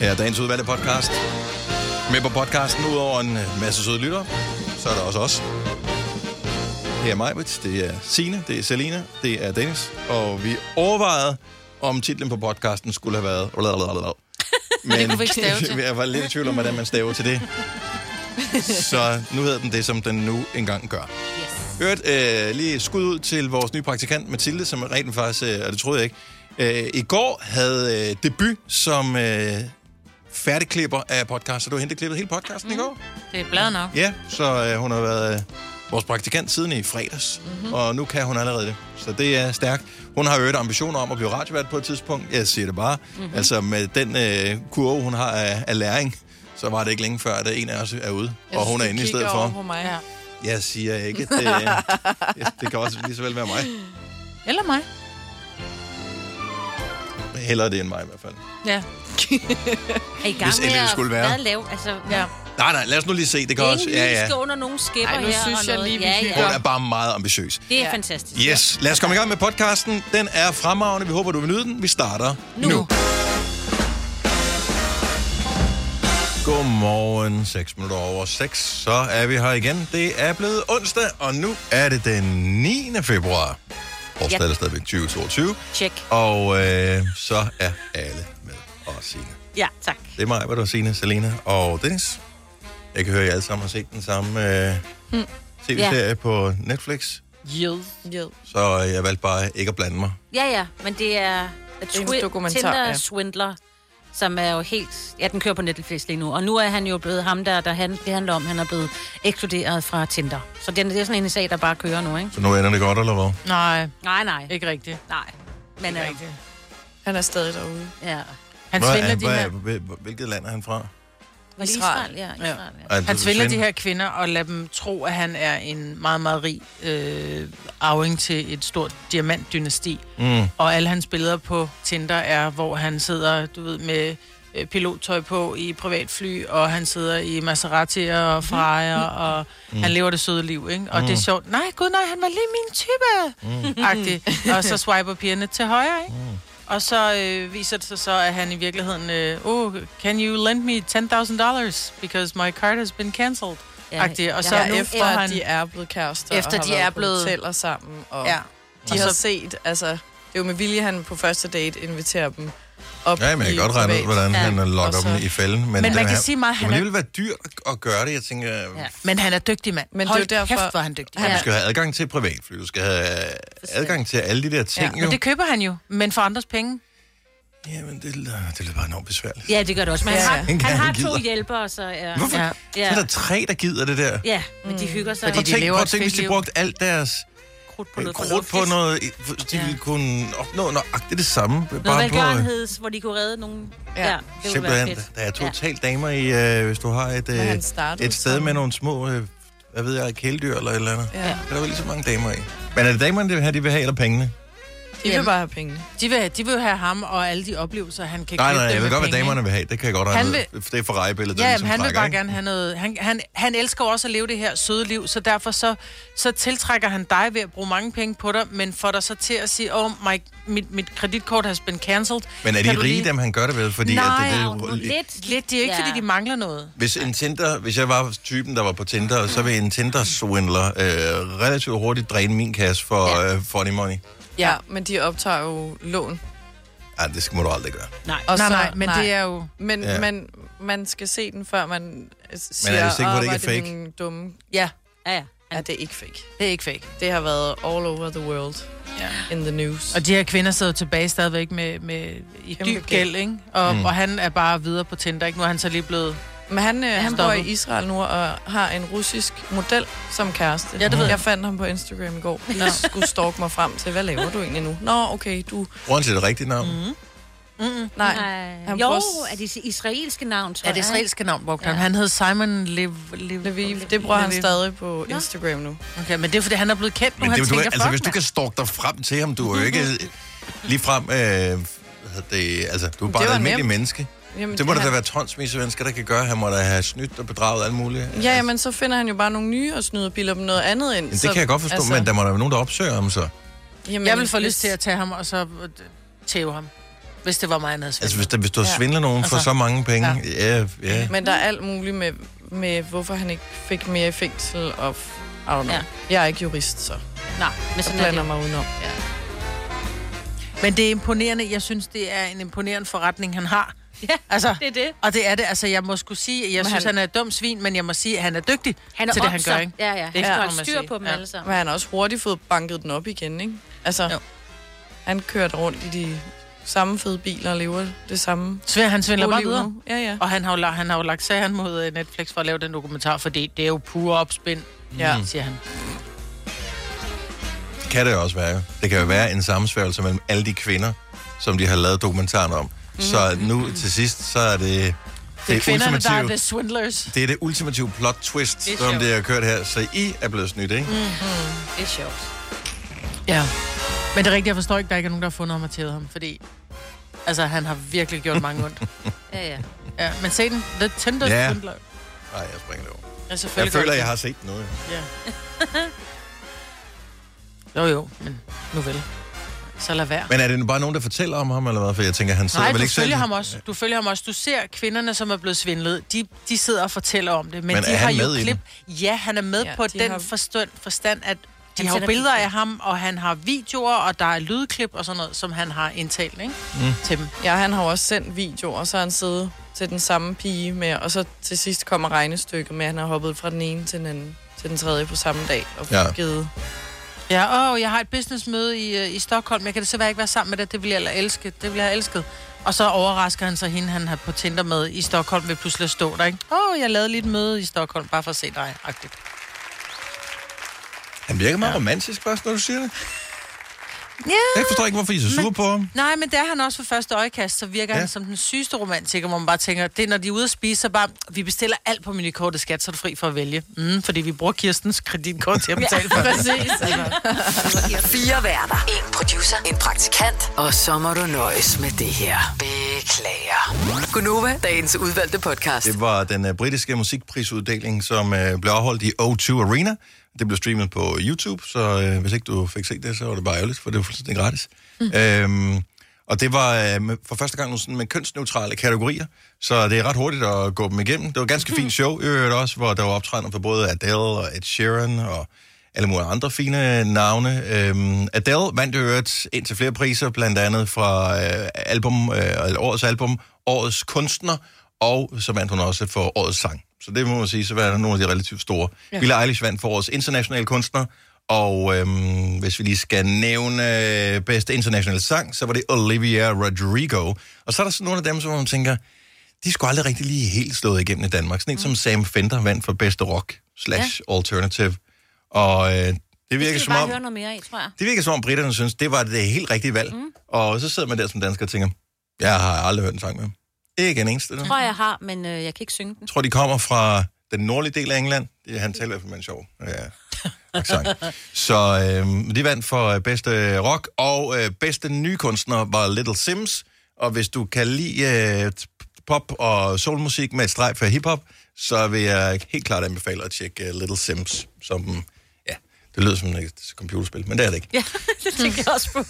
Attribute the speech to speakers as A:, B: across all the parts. A: er dagens udvalgte podcast. Med på podcasten, udover en masse søde lytter, så er der også os. Det er Majbrit, det er Sine, det er Selina, det er Dennis. Og vi overvejede, om titlen på podcasten skulle have været... Men
B: Det kunne vi ikke stave til.
A: jeg var lidt i tvivl om, hvordan man staver til det. Så nu hedder den det, som den nu engang gør. Hørt øh, lige skud ud til vores nye praktikant Mathilde, som er rent faktisk, øh, og det troede jeg ikke, øh, i går havde øh, debut som øh, færdigklipper af podcast. Så du har hentet klippet hele podcasten mm. i går?
B: Det er bladet nok.
A: Ja, så øh, hun har været øh, vores praktikant siden i fredags, mm-hmm. og nu kan hun allerede det. Så det er stærkt. Hun har jo øget ambitioner om at blive radiovært på et tidspunkt. Jeg siger det bare. Mm-hmm. Altså med den øh, kurve, hun har af, af læring, så var det ikke længe før, at en af os er ude, og hun er inde i stedet for.
C: På mig. Ja.
A: Jeg siger ikke, det, det, det kan også lige så vel være mig.
B: Eller mig.
A: Hellere det end mig i hvert fald.
B: Ja.
D: Er I gang
A: Hvis
D: med
A: endelig det
D: at
A: skulle være.
D: hvad lave? Altså, ja.
C: Ja.
A: Nej, nej, lad os nu lige se. Det kan også...
D: Ingen
A: Ja, ja.
D: skal under nogen skæpper
C: Ej, nu
D: her.
C: synes
D: og
C: jeg
D: noget.
C: lige, vi
D: ja,
C: hygger.
A: Hun
D: ja.
A: er bare meget ambitiøs.
D: Det er
C: Ja.
D: fantastisk.
A: Yes, lad os komme i gang med podcasten. Den er fremragende. Vi håber, du vil nyde den. Vi starter nu. nu. Godmorgen. 6 minutter over 6. Så er vi her igen. Det er blevet onsdag, og nu er det den 9. februar. Årstallet yep. er stadigvæk 2022.
D: Check.
A: Og øh, så er alle med. Og Signe.
D: Ja, tak.
A: Det er mig, hvad du Signe, Selena og Dennis. Jeg kan høre, at I alle sammen har set den samme øh,
C: Mm.
A: tv-serie på Netflix.
C: Jed. Jed.
A: Så øh, jeg valgte bare ikke at blande mig.
D: Ja, ja, men det er
C: en
D: twi-
C: dokumentar,
D: Tinder
C: ja.
D: Swindler, som er jo helt... Ja, den kører på Netflix lige nu. Og nu er han jo blevet ham der, der han, det handler om, han er blevet ekskluderet fra Tinder. Så den, det er sådan en sag, der bare kører nu, ikke?
A: Så nu ender det godt, eller hvad?
C: Nej,
D: Nej, nej.
C: ikke rigtigt.
D: Nej. Men øh,
C: rigtigt. Han er stadig derude.
D: ja.
C: Han
A: Hvor er
C: svindler
A: han,
C: de
A: hvor
C: her...
A: er- hvil- hvil- hvilket land er han fra?
D: Israel. Israel, ja. Israel, ja.
A: Ej,
C: Han
A: det-
C: svindler de
A: Svind-
C: her kvinder og lader dem tro, at han er en meget, meget rig øh, arving til et stort diamantdynasti.
A: Mm.
C: Og alle hans billeder på Tinder er, hvor han sidder, du ved, med øh, pilottøj på i privatfly, og han sidder i Maserati'er og
A: Mm.
C: Ferrari'er, og han lever det søde liv, ikke? Og det er sjovt. Nej, gud nej, han var lige min
A: Mm.
C: type! Agtig. Og så swiper pigerne til højre, ikke? Og så øh, viser det sig så, at han i virkeligheden, øh, oh, can you lend me 10.000 dollars, because my card has been cancelled.
D: Ja,
C: Agtig. Og så ja,
D: jeg har
E: Ja,
D: nogen
C: efter
E: efter
C: han...
E: at de er blevet kærester
C: Efter
E: og har
C: de
E: været
C: er
E: på
C: blevet-
E: hoteller sammen. Og
C: Ja.
E: De har
C: Og så-
E: set, altså, det er jo med vilje, han på første date inviterer dem op
A: Ja, men jeg
E: i
A: kan godt regne ud,
E: privat.
A: hvordan
D: Ja.
A: han øh,
E: Og
A: lokker
E: så-
A: dem i fælden. Men,
C: man
A: den
C: kan
A: her-
C: sige mig,
A: Det
C: han
A: må
C: er-
A: alligevel være dyrt at- at gøre det. Jeg tænker, ja.
D: Ja.
C: Men han er dygtig mand.
E: Men det er
C: Hold
E: jo derfor-
C: kæft, hvor er han dygtig.
A: Du
D: Ja.
A: skal have adgang til privatfly, du skal have øh, adgang til alle de der ting,
E: Ja,
A: ja, jo.
C: Men
A: Det...
C: det køber han jo, men for andres penge.
A: Jamen, det, lyder- det lyder bare enormt besværligt.
D: Ja, det gør det også. Men han,
E: Ja.
D: har,
A: Ingen
D: han har
A: gider.
D: to hjælpere, så ja.
A: Hvorfor? Ja.
C: Ja.
A: Så
D: Ja,
A: er der tre, der gider det der.
D: ja men de hygger sig.
C: Fordi
A: Prøv
C: de
A: Altså, tænk,
C: lever
A: prøv
C: et
A: tænk, hvis
C: fedt
A: de
C: liv.
A: brugte alt deres
D: krudt på
A: øh,
D: noget
A: krudt på
D: fornuftigt.
A: noget. i- De ville kunne opnå nøjagtigt det samme.
D: Noget
A: Bare på,
D: velgørenheds, hvor de kunne redde nogen. Ja,
E: Ja.
D: ja det ville være
A: simpelthen,
D: fedt.
A: der er totalt damer i, øh, hvis du har et,
E: Men
A: øh,
E: han startede
A: et sted
E: som-
A: med nogle små, øh, hvad ved jeg, kæledyr eller et eller andet.
E: Ja.
A: Der er jo lige så mange damer i. Men er det damerne, det her, de vil have, eller pengene?
E: De vil bare have penge.
C: De vil, de vil jo have ham og alle de oplevelser, han kan
A: Nej,
C: købe
A: nej,
C: dem
A: jeg ved
C: med
A: godt, hvad
C: penge,
A: damerne vil have. Det kan jeg godt
C: Han
A: regne ud. Det er for rejebilledet,
C: Ja,
A: ligesom
C: men han vil
A: trækker,
C: bare
A: ikke?
C: gerne have noget... Han, han, han elsker jo også at leve det her søde liv, så derfor så, så tiltrækker han dig ved at bruge mange penge på dig, men får dig så til at sige, åh, oh, my- mit, mit kreditkort has been cancelled.
A: Men er
C: Kan
A: de
C: du
A: rige,
C: lige-
A: dem han gør det ved? Fordi
C: Nej,
A: at det,
D: Nå,
A: det, det,
D: lidt.
C: Lidt, det er ikke,
D: Ja.
C: ja. fordi de mangler noget.
A: hvis, en Tinder, hvis jeg var typen, der var på Tinder, så ville en Tinder-swindler øh, relativt hurtigt dræne min kasse for øh, funny money.
E: Ja, men de optager jo lån.
A: Ej, det skal må du aldrig gøre.
D: Nej.
E: Og
C: nej,
E: så,
C: nej, men nej. det er jo...
E: Men
A: Ja.
E: ja. man, man skal se den, før man øh, siger,
A: er du sikker på,
E: "Åh,
A: det ikke
E: var
A: er fake?"
E: den dumme.
C: Ja,
D: Ja, ja.
E: Ja, det er ikke fake.
C: det er ikke fake.
E: Det har været all over the world
C: Ja.
E: in the news.
C: Og de her kvinder sidder tilbage stadigvæk med, med i
E: Kæmpe
C: dyb
E: gæld.
C: gæld, ikke? Og, mm. og han er bare videre på Tinder, ikke? Nu er han så lige blevet...
E: Men han, øh, han bor
C: Stoppet.
E: i Israel nu og har en russisk model som kæreste.
C: Ja, det ved jeg.
E: jeg. fandt ham på Instagram i går. Jeg skulle stalke mig frem til, hvad laver du egentlig nu? Nå, okay, du...
A: Grunden til det rigtige navn. Mm.
E: Nej.
D: Nej.
E: Han
D: Jo,
E: prøver-
D: er det israelske navn, tror
C: Er det
D: jeg.
C: israelske navn, brugte ja. han? Han hed Simon Lev... Lev...
E: Lviv, det bruger han
C: Lviv.
E: stadig på Instagram nu.
C: Okay, men det er, fordi han er blevet kendt nu.
A: Men
C: han
A: det, du,
C: tænker,
A: altså,
C: fuck,
A: hvis du kan stalke dig frem til ham, du er jo ikke ligefrem... Øh, hvad hedder det, altså, du er bare
E: Det
A: et
E: var
A: almindeligt
E: nemt.
A: menneske.
E: Jamen,
A: Det må der da
E: han-
A: være tonsvis af mennesker, der kan gøre. Han må da have snydt og bedraget alt muligt.
E: Ja, jamen, så finder han jo bare nogle nye og snyder biler dem noget andet ind.
A: Jamen, det kan jeg godt forstå, altså, men der må der være nogen, der opsøger ham så.
E: jamen,
C: Jeg vil få lyst
E: hvis-
C: til at tage ham, og så øh, tæve ham. Hvis det var mig, han havde
A: Altså,
C: svindlet.
A: hvis, der, hvis du
E: Ja.
A: svindler nogen for
C: Altså,
A: så mange penge, ja, ja. ja.
E: Men der er alt muligt med, med hvorfor han ikke fik mere i fængsel, og f- I don't know.
D: Ja.
E: Ja. Jeg er ikke jurist, så
D: Nej, men
E: jeg
D: sådan er
E: blander
D: det.
E: mig udenom.
C: Men det er imponerende. Jeg synes, det er en imponerende forretning, han har.
D: Ja,
C: Altså,
D: det er det.
C: og det er det. Altså, jeg må skulle sige, at jeg
E: Men
C: synes, han...
E: han-
C: han er et dumt svin, men jeg må sige, at han er dygtig
D: Han er
C: til det, han gør, ikke?
D: Ja, ja.
C: Det
D: Det
C: er
D: er
C: klart,
D: ja,
C: man
D: styr
C: siger.
D: på dem
C: Ja.
D: alle sammen.
E: Men han har også hurtigt fået banket den op igen, ikke? Altså,
C: Jo.
E: jo. han kørte rundt i de samme fede biler og lever det samme.
C: Svend, han svindler
E: gode
C: bare
E: liv
C: videre.
E: nu. Ja, ja.
C: Og han har, jo, la- han har jo lagt sagen mod øh, Netflix for at lave den dokumentar, fordi det er jo pure opspind,
A: Mm.
E: ja.
C: siger han.
A: Det kan det jo også være. jo. Det kan jo være en sammensværgelse mellem alle de kvinder, som de har lavet dokumentaren om. Så nu til sidst, så er det...
C: Mhm. Det er kvinderne, der er
A: ultimative-
C: the swindlers.
A: det er det ultimative plot twist,
D: Det er
A: som
D: sjovt.
A: det har kørt her. Så I er blevet snydt, ikke? Mm.
D: Det er sjovt.
C: Ja. Men det er rigtigt, jeg forstår ikke, der ikke er nogen, der har fundet ham og tævet ham, fordi... Altså, han har virkelig gjort mange ondt.
D: Ja, ja.
C: Ja, men se den. The Tinder
A: Ja.
C: Swindler.
A: Nej, jeg springer det over.
C: Ja, selvfølgelig
A: Jeg
C: gør
A: føler,
C: det.
A: jeg har set noget. jo.
C: Ja. jo, jo, men nu vel. Så lad være.
A: Men er det nu bare nogen, der fortæller om ham, eller hvad? For jeg tænker, han sidder
C: Nej,
A: vel
C: du
A: ikke selv...
C: følger ham også. Du følger ham også. Du ser kvinderne, som er blevet svindlet. De, de sidder og fortæller om det. Men,
A: Men
C: de
A: er
C: har
A: han
C: jo
A: med i
C: klip. Ja, han er med
E: Ja,
C: på
E: de
C: den
E: har-
C: forstand, forstand at de
D: Han
C: har jo
D: sætter
C: billeder
D: klip
C: af ham, og han har videoer, og der er lydklip og sådan noget, som han har indtalt ikke? Mm. til dem.
E: ja, han har jo også sendt videoer, og så har han siddet til den samme pige med, og så til sidst kommer regnestykket med, at han har hoppet fra den ene til den anden til den tredje på samme dag, og
A: Ja.
E: ja. givet...
C: Ja, åh, jeg har et businessmøde i, øh, i Stockholm. Jeg kan desværre ikke være sammen med dig. Det ville jeg eller elske. Det ville jeg have elsket. Og så overrasker han så hende, han har på Tinder med i Stockholm, ved pludselig at stå der, ikke? Åh, jeg lavede lige et møde i Stockholm, bare for at se dig, agtigt.
A: Han virker meget romantisk, først, når du siger det.
C: Ja.
A: Jeg forstår ikke, hvorfor I er så sure på ham.
C: Nej, men det er han også for første øjekast, så virker ja.
A: Ja.
C: han som den sygeste romantiker, hvor man bare tænker, det er, når de er ude at spise, så bare, vi bestiller alt på menukortet skat, så er du fri for at vælge. Mm, fordi vi bruger Kirstens kreditkort til at betale for det.
F: Fire værter. En producer. En praktikant. Og så må du nøjes med det her. Beklager. Gunova, dagens udvalgte podcast.
A: Det var den uh, britiske musikprisuddeling, som uh, blev afholdt i O2 Arena. Det blev streamet på YouTube, så uh, hvis ikke du fik set det, så var det bare ærgerligt, for det var fuldstændig gratis. Mm. Øhm, og det var uh, med, for første gang nu sådan med kønsneutrale kategorier, så det er ret hurtigt at gå dem igennem. Det var et ganske fint show, i øvrigt også, hvor der var optrædener for både Adele og Ed Sheeran og alle mulige andre fine øh, navne. Øhm, Adele vandt i øvrigt ind til flere priser, blandt andet fra øh, album, øh, eller årets album, årets kunstner, og så vandt hun også for årets sang. Så det må man sige, så var der nogle af de relativt store. Ja. Billie Eilish vandt for årets internationale kunstner, og øhm, hvis vi lige skal nævne øh, bedste internationale sang, så var det Olivia Rodrigo. Og så er der sådan nogle af dem, som man tænker, de skulle aldrig rigtig lige helt slået igennem i Danmark.
D: Mm.
A: Sådan en som Sam Fender vandt for bedste rock slash alternative. Og øh, det
D: Det
A: virker
D: skal vi
A: som
D: bare
A: om...
D: høre noget mere af, tror jeg.
A: Det virker som om britterne synes, det var det helt rigtige valg. Mm. Og så sidder man der som dansker og tænker, jeg har aldrig hørt en sang med dem. Ikke en eneste.
D: Jeg
A: Jeg
D: tror, jeg har, men øh, jeg kan ikke synge den.
A: tror, de kommer fra den nordlige del af England. Det- Han taler i hvert fald med en sjov ja, accent. Så øh, de vandt for øh, bedste rock, og øh, bedste nye kunstner var Little Sims. Og hvis du kan lide øh, t- pop og soulmusik med et streg for hiphop, så vil jeg helt klart anbefale at tjekke øh, Little Sims, som... Ja, det lyder som et computerspil, men det er det ikke.
D: Det tænker jeg også på.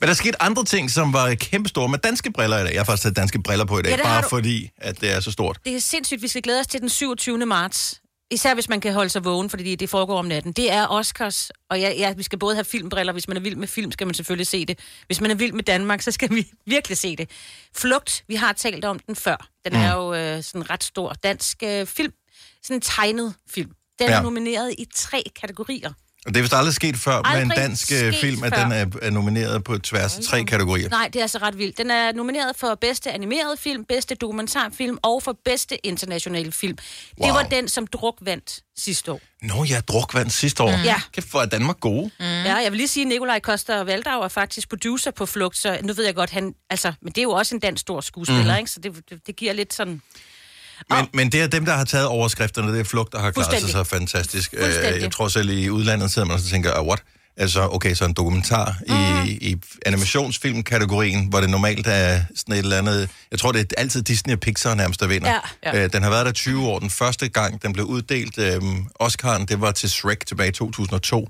A: Men der skete andre ting, som var kæmpestore med danske briller i dag. Jeg har faktisk taget danske briller på i dag,
D: Ja,
A: ja,
D: det har
A: bare du...
D: du.
A: fordi, at det er så stort.
D: Det er sindssygt, vi skal glæde os til den 27. marts. Især hvis man kan holde sig vågen, fordi det foregår om natten. Det er Oscars, og ja, ja, vi skal både have filmbriller. Hvis man er vild med film, skal man selvfølgelig se det. Hvis man er vild med Danmark, så skal vi virkelig se det. Flugt, vi har talt om den før. Den mm. er jo øh, sådan en ret stor dansk øh, film. Sådan en tegnet film. Den ja.
A: Ja.
D: er nomineret i tre kategorier.
A: Og det er vist aldrig sket før aldrig
D: Aldrig
A: med en dansk øh,
D: sket
A: film, at
D: før.
A: den er, er nomineret på tværs af tre kategorier.
D: Nej, det er altså ret vildt. Den er nomineret for bedste animerede film, bedste dokumentarfilm og for bedste internationale film. Wow.
A: Wow.
D: Det var den, som Druk vandt sidste år.
A: Nå, jeg druk vand sidste år. Mm.
D: Ja.
A: Kæft, hvor er Danmark gode. Mm.
D: Mm. Ja, jeg vil lige sige, at Nikolaj Koster Valdau er faktisk producer på Flugt, så nu ved jeg godt, han... Altså, men det er jo også en dansk stor
A: Mhm.
D: skuespiller, mm. ikke? Så det, det, det giver lidt sådan...
A: Men, men det er dem, der har taget overskrifterne, det er flugt, der har klaret sig så
D: Fuldstændig.
A: fantastisk. Øh,
D: Fuldstændig.
A: Jeg tror selv i udlandet sidder man også og tænker, ah, what? Altså, okay, så en dokumentar mm. i, i animationsfilmkategorien, hvor det normalt er sådan et eller andet... Jeg tror, det er altid Disney og Pixar nærmest, der vinder.
D: Ja.
A: Øh, den har været der øhm, 20 år. Den første gang, den blev uddelt, øh, Oscar'en, det var til Shrek tilbage i 2002.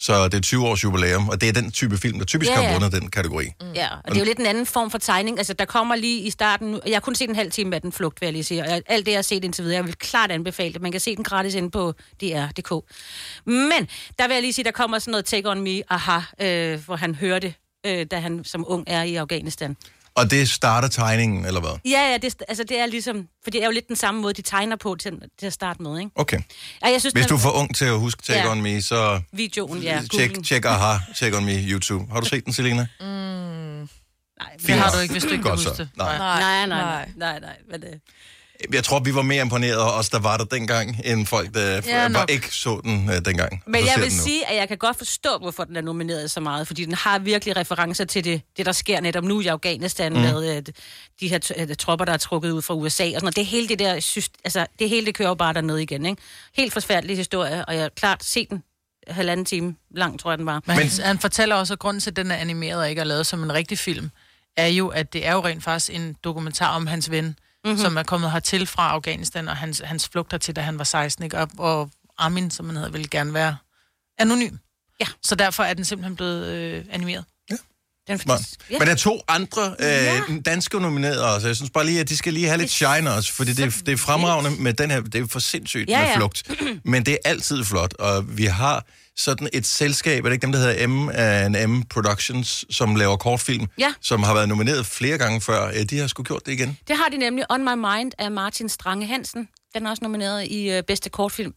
A: Så det er 20 års jubilæum, og det er den type film, der typisk
D: Ja,
A: har
D: ja. Mm.
A: vundet den kategori.
D: Ja, og det er jo lidt en anden form for tegning. Altså, der kommer lige i starten... nu- Jeg har kun set en halv time af den flugt, vil jeg lige sige. Og jeg- alt det, jeg har set indtil videre, jeg vil klart anbefale det. Man kan se den gratis inde på DR.dk. Men der vil jeg lige sige, der kommer sådan noget Take On Me, aha, øh, hvor han hørte, øh, da han som ung er i Afghanistan.
A: Og det starter tegningen, eller hvad?
D: Ja, ja, det, altså, det er ligesom... For det er jo lidt den samme måde, de tegner på til, til at starte med, ikke?
A: Okay.
D: Ja, jeg synes,
A: Hvis
D: den-
A: du er for ung til at huske Take
D: Ja.
A: On Me, så
D: Videoen, ja.
A: tjek,
D: Googlen.
A: tjek aha, Take On Me YouTube. Har du set den, Selina?
C: Mm. Det har du ikke, hvis du ikke kan
A: Godt så.
C: huske det.
A: Nej.
D: Nej, nej, nej, nej, nej, hvad det
A: Jeg tror, vi var mere imponeret over os, der var der dengang, end folk, der
D: Ja,
A: ja,
D: nok.
A: bare ikke så den øh, dengang. og
D: Men
A: så
D: jeg
A: ser
D: vil
A: den nu.
D: sige, at jeg kan godt forstå, hvorfor den er nomineret så meget, fordi den har virkelig referencer til det, det der sker netop nu i Afghanistan mm. med øh, de her t- øh, tropper, der er trukket ud fra USA og sådan noget. Det hele det der, syst, altså det hele det kører jo bare dernede igen, ikke? Helt forfærdelig historie, og jeg har klart set den halvanden time lang, tror jeg den var.
C: Men, Men han fortæller også, at grunden til, at den er animeret og ikke er lavet som en rigtig film, er jo, at det er jo rent faktisk en dokumentar om hans ven, mm-hmm. som er kommet hertil fra Afghanistan, og hans, hans flugter til, da han var 16, ikke? Og, og Armin, som han hedder, ville gerne være anonym.
D: Ja.
C: Så derfor er den simpelthen blevet øh, animeret.
D: Den,
A: Smart. Men der er to andre øh, danske nominerede også. Jeg synes bare lige, at de skal lige have lidt shine også, fordi det, det er fremragende med den her, det er for sindssygt
D: Ja,
A: ja, med
D: ja.
A: flugt. Men det er altid flot, og vi har sådan et selskab, er det ikke dem, der hedder M, øh, M Productions, som laver kortfilm,
D: Ja.
A: som har været nomineret flere gange før. Øh, De har sgu gjort det igen.
D: Det har de nemlig On My Mind af Martin Strange Hansen. Den er også nomineret i øh, bedste kortfilm.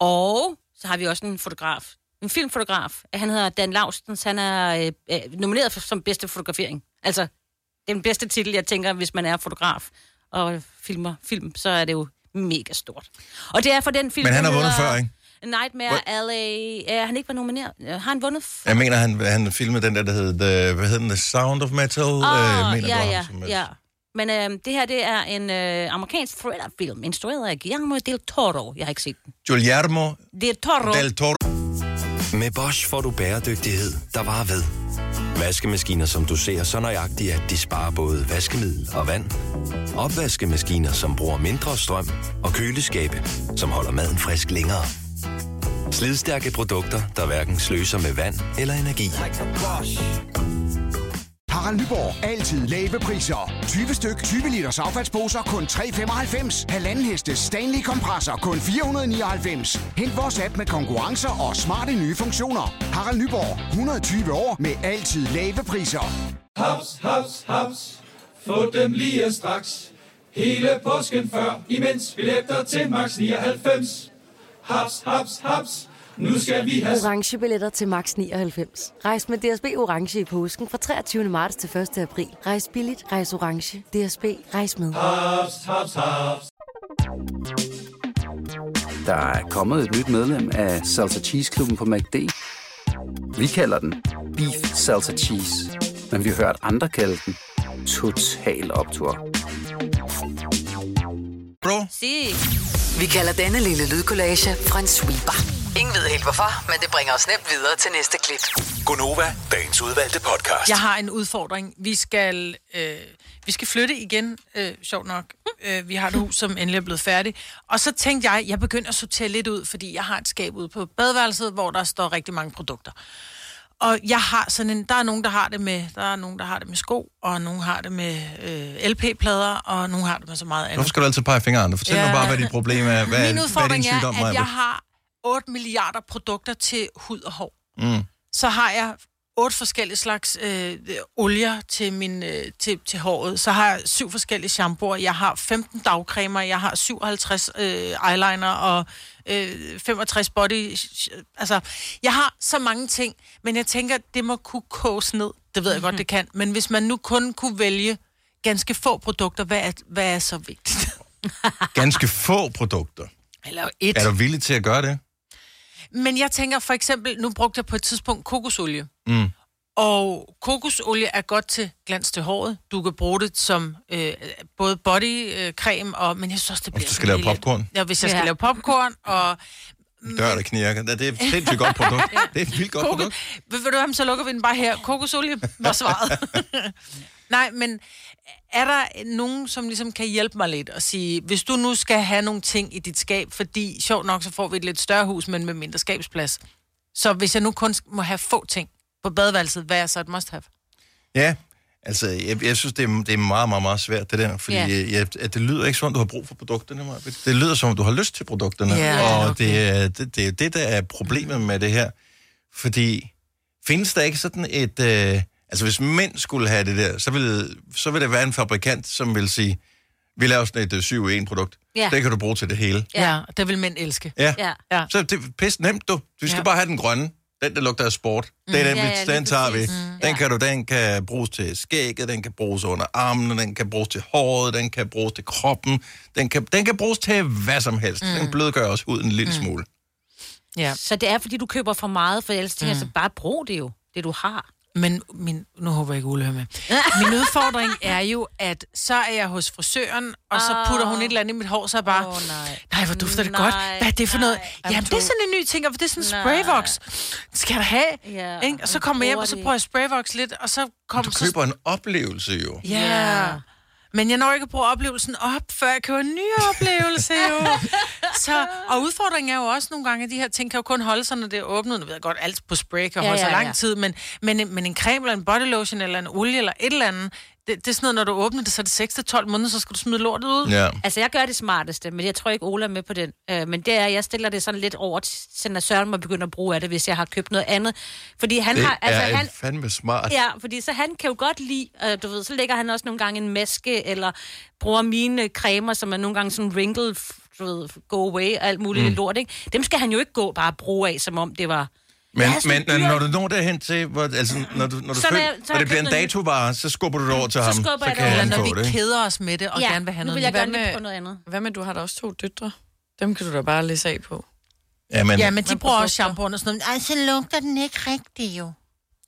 D: Og så har vi også en fotograf. En filmfotograf. Han hedder Dan Laustens. Han er øh, øh, nomineret for, som bedste fotografering. Altså, den bedste titel, jeg tænker, hvis man er fotograf og filmer film, så er det jo mega stort. Og det er for den film,
A: Men han
D: der
A: har vundet
D: hedder
A: før, ikke?
D: Nightmare LA. Uh, han ikke var nomineret. Øh, Har han vundet? f-
A: Jeg mener, han, han filmede den der, der hedder, The- hvad hedder den, The Sound of Metal? Oh,
D: Åh,
A: mener, det var ham,
D: Ah, ja,
A: som,
D: ja,
A: øh,
D: ja. Men øh, det her, det er en øh, amerikansk thrillerfilm, instrueret af Guillermo del Toro. Jeg har ikke set den.
A: Guillermo
D: Del Toro.
A: del Toro.
G: Med Bosch får du bæredygtighed, der varer ved. Vaskemaskiner, som du ser så nøjagtigt, at de sparer både vaskemiddel og vand. Opvaskemaskiner, som bruger mindre strøm. Og køleskabe, som holder maden frisk længere. Slidstærke produkter, der hverken sløser med vand eller energi.
H: Harald Nyborg. Altid lave priser. 20 styk, 20 liters affaldsposer kun 3,95. Halvanden heste Stanley kompresser kun 499. Hent vores app med konkurrencer og smarte nye funktioner. Harald Nyborg. 120 år med altid lave priser.
I: Haps, haps, haps. Få dem lige straks. Hele påsken før, imens billetter til max 99. Haps, haps, haps. Nu skal vi have
J: orange billetter til max 99. Rejs med DSB orange i påsken fra 23. marts til 1. april. Rejs billigt, rejs orange. DSB rejs med.
I: haps, haps, haps.
K: Der er kommet et nyt medlem af Salsa Cheese Klubben på MACD. Vi kalder den Beef Salsa Cheese, men vi har hørt andre kalde den Total Optor.
A: Bro,
D: Se.
F: Vi kalder denne lille lydkollage en sweeper. Ingen ved helt hvorfor, men det bringer os nemt videre til næste klip.
G: Gonova, dagens udvalgte podcast.
C: Jeg har en udfordring. Vi skal, øh, vi skal flytte igen, øh, sjovt nok. Øh, vi har et hus, som endelig er blevet færdigt. Og så tænkte jeg, jeg begynder at sortere lidt ud, fordi jeg har et skab ude på badeværelset, hvor der står rigtig mange produkter. Og jeg har sådan en, der er nogen, der har det med, der er nogen, der har det med sko, og nogen har det med øh, LP-plader, og nogen har det med så meget andet.
A: Hvorfor skal du altid pege fingre andre? Fortæl ja.
C: Ja.
A: mig bare, hvad dit problem er. Hvad,
C: Min
A: hvad er din
C: udfordring er,
A: sygdom,
C: er at
A: Maja?
C: jeg har 8 milliarder produkter til hud og hår.
A: Mm.
C: Så har jeg otte forskellige slags øh, øh, olier til, min, øh, til, til håret. Så har jeg syv forskellige shampooer. Jeg har 15 dagcremer. Jeg har 57 øh, eyeliner og øh, 65 body... Altså, jeg har så mange ting, men jeg tænker, det må kunne koges ned. Det ved jeg godt, det kan. Men hvis man nu kun kunne vælge ganske få produkter, hvad er, hvad er så vigtigt?
A: Ganske få produkter.
C: Eller et.
A: Er du villig til at gøre det?
C: Men jeg tænker for eksempel, nu brugte jeg på et tidspunkt kokosolie.
A: Mm.
C: Og kokosolie er godt til glans til håret. Du kan bruge det som øh, både bodycreme, øh, og, men jeg synes også, det bliver...
A: Hvis du skal
C: sådan
A: lave
C: lige lidt-
A: popcorn.
C: Ja, hvis jeg skal
D: Ja.
C: ja. lave popcorn, og...
A: Dør, der knirker. Det er et sindssygt godt produkt. Det er et vildt godt
C: Kokos,
A: produkt.
C: ved, ved du hvad, så lukker vi den bare her. Kokosolie var svaret. Nej, men er der nogen, som ligesom kan hjælpe mig lidt og sige, hvis du nu skal have nogle ting i dit skab, fordi sjovt nok, så får vi et lidt større hus, men med mindre skabsplads. Så hvis jeg nu kun må have få ting på badeværelset, hvad er så et must-have?
A: Ja, altså, jeg, jeg synes, det er, det er meget, meget, meget svært, det der. Fordi
C: Ja.
A: yeah. jeg, at det lyder ikke som om, du har brug for produkterne, Maja. Det lyder som om, du har lyst til produkterne.
L: Ja,
A: og
L: okay.
A: det, er, det, det er jo det, der er problemet med det her. Fordi findes der ikke sådan et... Øh, altså, hvis mænd skulle have det der, så ville, så ville der være en fabrikant, som vil sige, vi laver sådan et øh, 7-1-produkt.
C: Ja.
A: Det kan du bruge til det hele.
C: Ja, ja det vil mænd elske.
A: Ja.
C: ja.
A: Så det er pisse nemt, du. Vi skal
C: Ja.
A: ja. bare have den grønne. Den, der lugter af sport. Det er
C: Mm.
A: den,
C: Ja,
A: ja,
C: ja,
A: ja,
C: lige
A: den tager vi.
C: præcis.
D: Mm.
A: Den, kan du, den kan bruges til skægget, den kan bruges under armene, den kan bruges til håret, den kan bruges til kroppen. Den kan, den kan bruges til hvad som helst. Mm. Den blødgør også huden en lille mm. smule.
C: Ja. Mm.
D: Så det er, fordi du køber for meget, for ellers tænker jeg, så bare brug det jo, det du har.
C: Men min, nu håber jeg ikke, Ole hører med. Min udfordring er jo, at så er jeg hos frisøren, og så putter hun et eller andet i mit hår, så er jeg bare, oh, Ah. nej. nej, hvor dufter det godt. Hvad er det for noget? Jamen, det er sådan en ny ting, og det er sådan en sprayvox. Skal jeg da have?
D: Ja,
C: ikke? Og så
D: og
C: kommer jeg hjem,
D: bruger
C: og så
D: det.
C: prøver jeg sprayvox lidt, og så kommer
A: Du
C: så...
A: køber en oplevelse jo.
C: Ja. Yeah. Men jeg når ikke at bruge oplevelsen op, før jeg køber en ny oplevelse jo. Så, og udfordringen er jo også nogle gange, at de her ting kan jo kun holde sig, når det er åbnet. Nu ved jeg godt, alt på spray kan
B: Ja,
C: holde ja,
B: ja,
C: sig lang
B: ja.
C: tid, men, men, en- men en creme eller en body lotion eller en olie eller et eller andet, det, det er sådan noget, når du åbner det, så er det 6-12 måneder, så skal du smide lortet ud.
A: Ja.
D: Altså, jeg gør det smarteste, men jeg tror ikke, Ola er med på den. Øh, men det er, jeg stiller det sådan lidt over, til- sådan at Søren må begynde at bruge af det, hvis jeg har købt noget andet. Fordi han
A: det
D: har... Altså,
A: er
D: han,
A: et fandme smart.
D: Ja, fordi så han kan jo godt lide, øh, du ved, så lægger han også nogle gange en maske, eller bruger mine cremer, som er nogle gange sådan wrinkle, f- du ved, go away og alt muligt mm.
A: Mm.
D: lort, ikke? Dem skal han jo ikke gå bare og bruge af, som om det var...
A: Men,
D: Ja, sådan
A: men
D: dyr-
A: når du når derhen til, hvor, altså, når du, når du
D: Så når
A: føler,
D: jeg- så
A: når
D: har jeg
A: det bliver en
D: købt noget nyt.
A: datovare, så skubber du det over til
D: Så
A: ham.
D: skubber jeg det
A: kan
D: over.
A: han
D: Eller når
A: få
D: vi
A: det, ikke?
C: Keder os med det, og
D: Ja,
C: gerne vil have
D: nu
C: noget
D: vil jeg
C: nyt.
D: gerne lidt på noget andet.
E: Hvad med, du har da også to døtre? Dem kan du da bare læse af på.
A: Ja, men-
C: Ja, men de bruger også shampoo og sådan noget. Ej, så lugter den ikke rigtigt jo.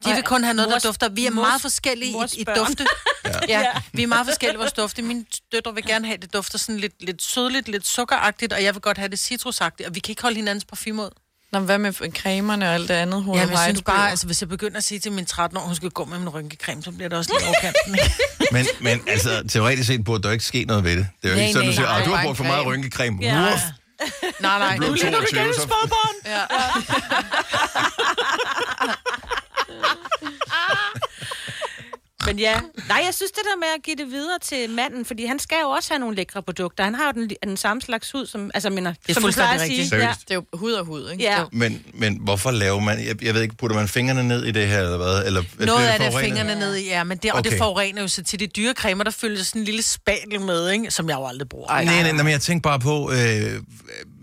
C: De vil kun have noget, der dufter. Vi er meget forskellige i, i dufte. ja. ja. vi er meget forskellige i vores dufte. Mine døtre vil gerne have, at det dufter sådan lidt, lidt sødligt, lidt sukkeragtigt, og jeg vil godt have det citrusagtigt, og vi kan ikke holde hinandens parfume ud.
E: Nå, men hvad med f- cremerne og alt det andet?
C: Ja, men jeg synes bare, altså, hvis jeg begynder at sige til min 13 år, hun skal gå med min rynkecreme, så bliver det også lidt overkanten. ikke?
A: Men, men altså, teoretisk set burde der jo ikke ske noget ved det. Det er jo
C: Nej,
A: ikke sådan,
C: nej,
A: du siger,
C: nej.
A: "Ah, du
C: Bare
A: har
C: en
A: brugt for meget
C: creme."
A: rynkecreme.
C: Ja.
A: Uff.
C: nej, nej.
A: Du blev
C: ligner du
A: 22,
C: gerne i
A: så-
C: spåbånd. Ja.
D: Men ja, nej, jeg synes det der med at give det videre til manden, fordi han skal jo også have nogle lækre produkter. Han har jo den, den samme slags hud, som, altså, jeg mener,
E: er
D: som du plejer
E: fuldstændig
D: at sige.
E: rigtigt.
D: Ja.
E: Det er jo hud og hud, ikke?
D: Ja.
A: Men, men hvorfor laver man... Jeg, jeg ved ikke, putter man fingrene ned i det her, eller hvad? Eller,
C: Noget
A: bliver
C: af det er
A: forurenet?
C: fingrene ned i, ja, men det, og okay. det
A: Okay.
C: forurener jo så til de dyre cremer, der følger sådan en lille spatel med, ikke? som jeg jo aldrig bruger.
A: Ej, nej, nej, nej, men jeg tænker bare på, øh,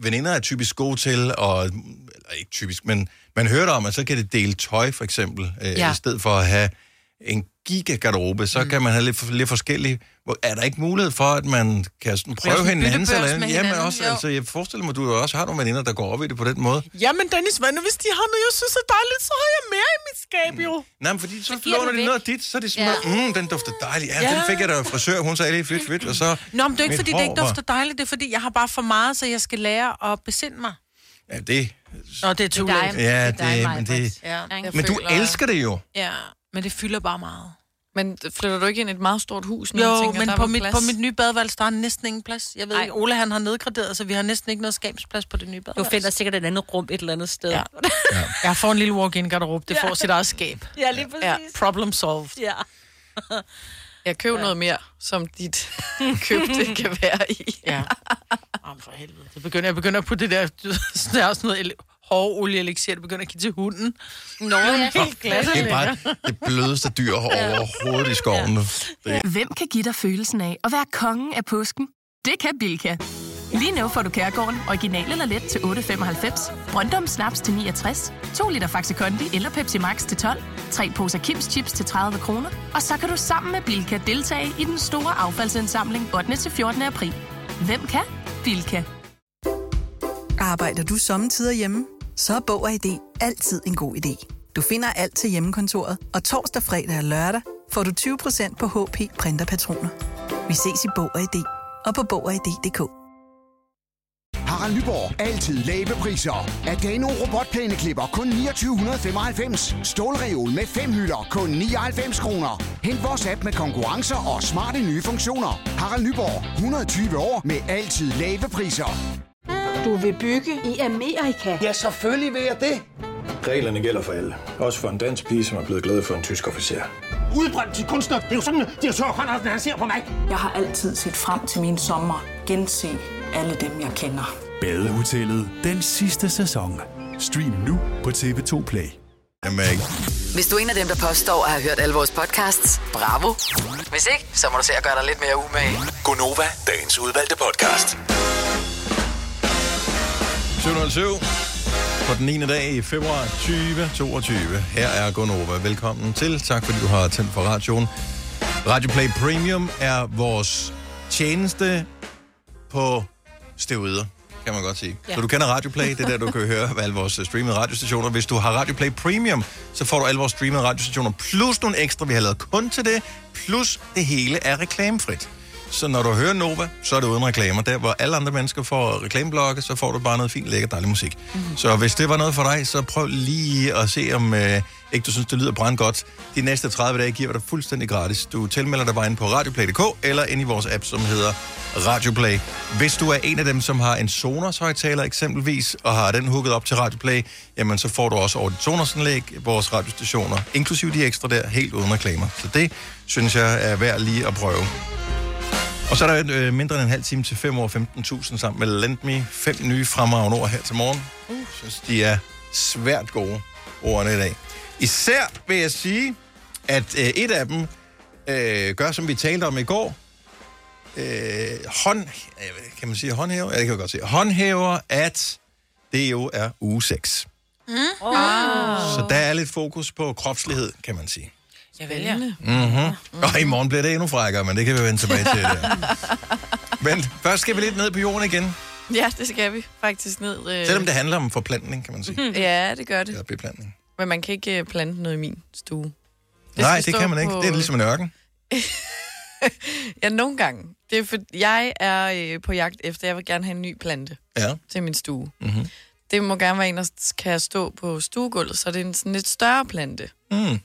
A: veninder er typisk gode til, og, eller ikke typisk, men man hører det om, at så kan det dele tøj, for eksempel. Øh,
L: Ja.
A: ja. I stedet for at have en gigagarderobe, så mm. kan man have lidt, for- lidt forskellige... Hvor, er der ikke mulighed for, at man kan sådan
C: Lave
A: prøve
C: sådan en
A: hinandens
C: byttebørs
A: eller andet?
C: med
A: Jamen
C: hinanden,
A: også,
C: jo.
A: altså, jeg forestiller mig, du jo også har nogle veninder, der går op i det på den måde.
C: Jamen Dennis, hvad nu hvis de har noget, jeg synes er dejligt, så har jeg mere i mit skab jo.
A: Nej, men fordi så
C: giver
A: låner
C: du
A: de
C: væk.
A: noget af dit, så er det sådan, ja. mm, den dufter dejligt. Ja, ja, den
C: Ja.
A: fik jeg da af frisør, hun sagde lige flit, flit, og så...
C: Nå, men det er ikke,
A: mit
C: fordi
A: hår
C: det ikke
A: var-
C: dufter dejligt, det er fordi, jeg har bare for meget, så jeg skal lære at besinde mig.
A: Ja, det...
C: Nå, det er too late.
A: Ja, det, men, det,
C: Ja.
A: men du elsker det jo.
C: Ja, men det fylder bare meget.
E: Men flytter du ikke ind i et meget stort hus nu?
C: Jo,
E: Jeg
C: tænker, men
E: der
C: på
E: var
C: mit,
E: plads.
C: på mit nye badeværelse, der er næsten ingen plads. Jeg ved
D: Ej.
C: ikke, Ole han har nedgraderet, så vi har næsten ikke noget skabsplads på det nye
D: Du
C: badeværelse.
D: finder sikkert et andet rum et eller andet sted. Ja,
C: Jeg får en lille walk-in garderobe, det får sit eget skab.
D: ja lige præcis. Ja.
C: Problem solved.
D: Ja.
E: Jeg køber noget mere, som dit køb det kan være i.
C: Ja. Jamen for helvede. Det begynder, jeg begynder at putte det der, der er også noget el- hårdolie elixir, det begynder at give til hunden. Nå,
A: Det er bare det blødeste dyr overhovedet i skoven nu. Det,
M: Hvem kan give dig følelsen af at være kongen af påsken? Det kan Bilka! Lige nu får du Kærgården original eller let til 8.95, Brøndum Snaps til 69, 2 liter Faxi Kondi eller Pepsi Max til 12, 3 poser Kims Chips til 30 kroner, og så kan du sammen med Bilka deltage i den store affaldsindsamling 8. til 14. april. Hvem kan? Bilka.
N: Arbejder du sommetider hjemme? Så er Bog og ID altid en god idé. Du finder alt til hjemmekontoret, og torsdag, fredag og lørdag får du 20% på HP Printerpatroner. Vi ses i Bog og ID og på Bog og ID.dk.
H: Harald Nyborg. Altid lave priser. Adano robotplæneklipper kun 2995. Stålreol med fem hylder kun 99 kroner. Hent vores app med konkurrencer og smarte nye funktioner. Harald Nyborg. 120 år med altid lave priser.
O: Du vil bygge i Amerika? Ja, selvfølgelig vil jeg det.
L: Reglerne gælder for alle. Også for en dansk pige, som er blevet glad for en tysk officer.
O: Udbrøndt til kunstner. Det er jo sådan, at de har han ser på mig. Jeg har altid set frem til min sommer. Gense alle dem, jeg kender.
P: Badehotellet den sidste sæson. Stream nu på TV2 Play.
A: Jamen,
F: Hvis du er en af dem, der påstår at have hørt alle vores podcasts, bravo. Hvis ikke, så må du se at gøre dig lidt mere umage.
G: Gonova, dagens udvalgte podcast.
A: 707 på den 9. dag i februar 2022. Her er Gonova. Velkommen til. Tak fordi du har tændt for radioen. Radio Play Premium er vores tjeneste på steroider, kan man godt sige.
G: Ja.
A: Ja. Så du kender Radio Play, det er der, du kan høre alle vores øh, streamede radiostationer. Hvis du har Radio Play Premium, så får du alle vores streamede radiostationer, plus nogle ekstra, vi har lavet kun til det, plus det hele er reklamefrit. Så når du hører Nova, så er det uden reklamer. Der, hvor alle andre mennesker får reklameblokke, så får du bare noget fint, lækker, dejlig musik. Mm-hmm. Så hvis det var noget for dig, så prøv lige at se, om øh, ikke du synes, det lyder brandgodt. De næste 30 dage giver vi dig fuldstændig gratis. Du tilmelder dig bare ind på radioplay.dk eller ind i vores app, som hedder Radioplay. Hvis du er en af dem, som har en Sonos højtaler eksempelvis, og har den hooket op til Radioplay, jamen så får du også over dit Sonos anlæg, vores radiostationer, inklusive de ekstra der, helt uden reklamer. Så det synes jeg er værd lige at prøve. Og så er der øh, mindre end en halv time til 5 år 15.000 sammen med Lendme. Fem nye fremragende ord her til morgen. Uh. synes, de er svært gode ordene i dag. Især vil jeg sige, at øh, et af dem øh, gør, som vi talte om i går. Øh, hånd, øh, kan man sige håndhæver? Ja, det kan jeg godt sige. Håndhæver, at det jo er uge 6.
B: Mm. Oh.
A: Så der er lidt fokus på kropslighed, kan man sige.
B: Jeg vælger.
A: Mm-hmm. Mm. Og i morgen bliver det endnu frækkere, men det kan vi vende tilbage til. Der. men først skal vi lidt ned på jorden igen.
E: Ja, det skal vi faktisk ned. Øh...
A: Selvom det handler om forplantning, kan man sige.
E: Ja, det gør
A: Eller
E: Mhm. det.
A: beplantning.
E: Men man kan ikke øh, plante noget i min stue. Det
A: Nej,
E: skal
A: det
E: stå
A: kan man ikke.
E: på-
A: Det er ligesom en ørken.
E: Ja, nogle gange. Det er for, jeg er øh, på jagt efter, jeg vil gerne have en ny plante
A: Ja.
E: til min stue.
A: Mm-hmm.
E: Det må gerne være en, der s- kan stå på stuegulvet, så det er en sådan lidt større plante.
A: Mm.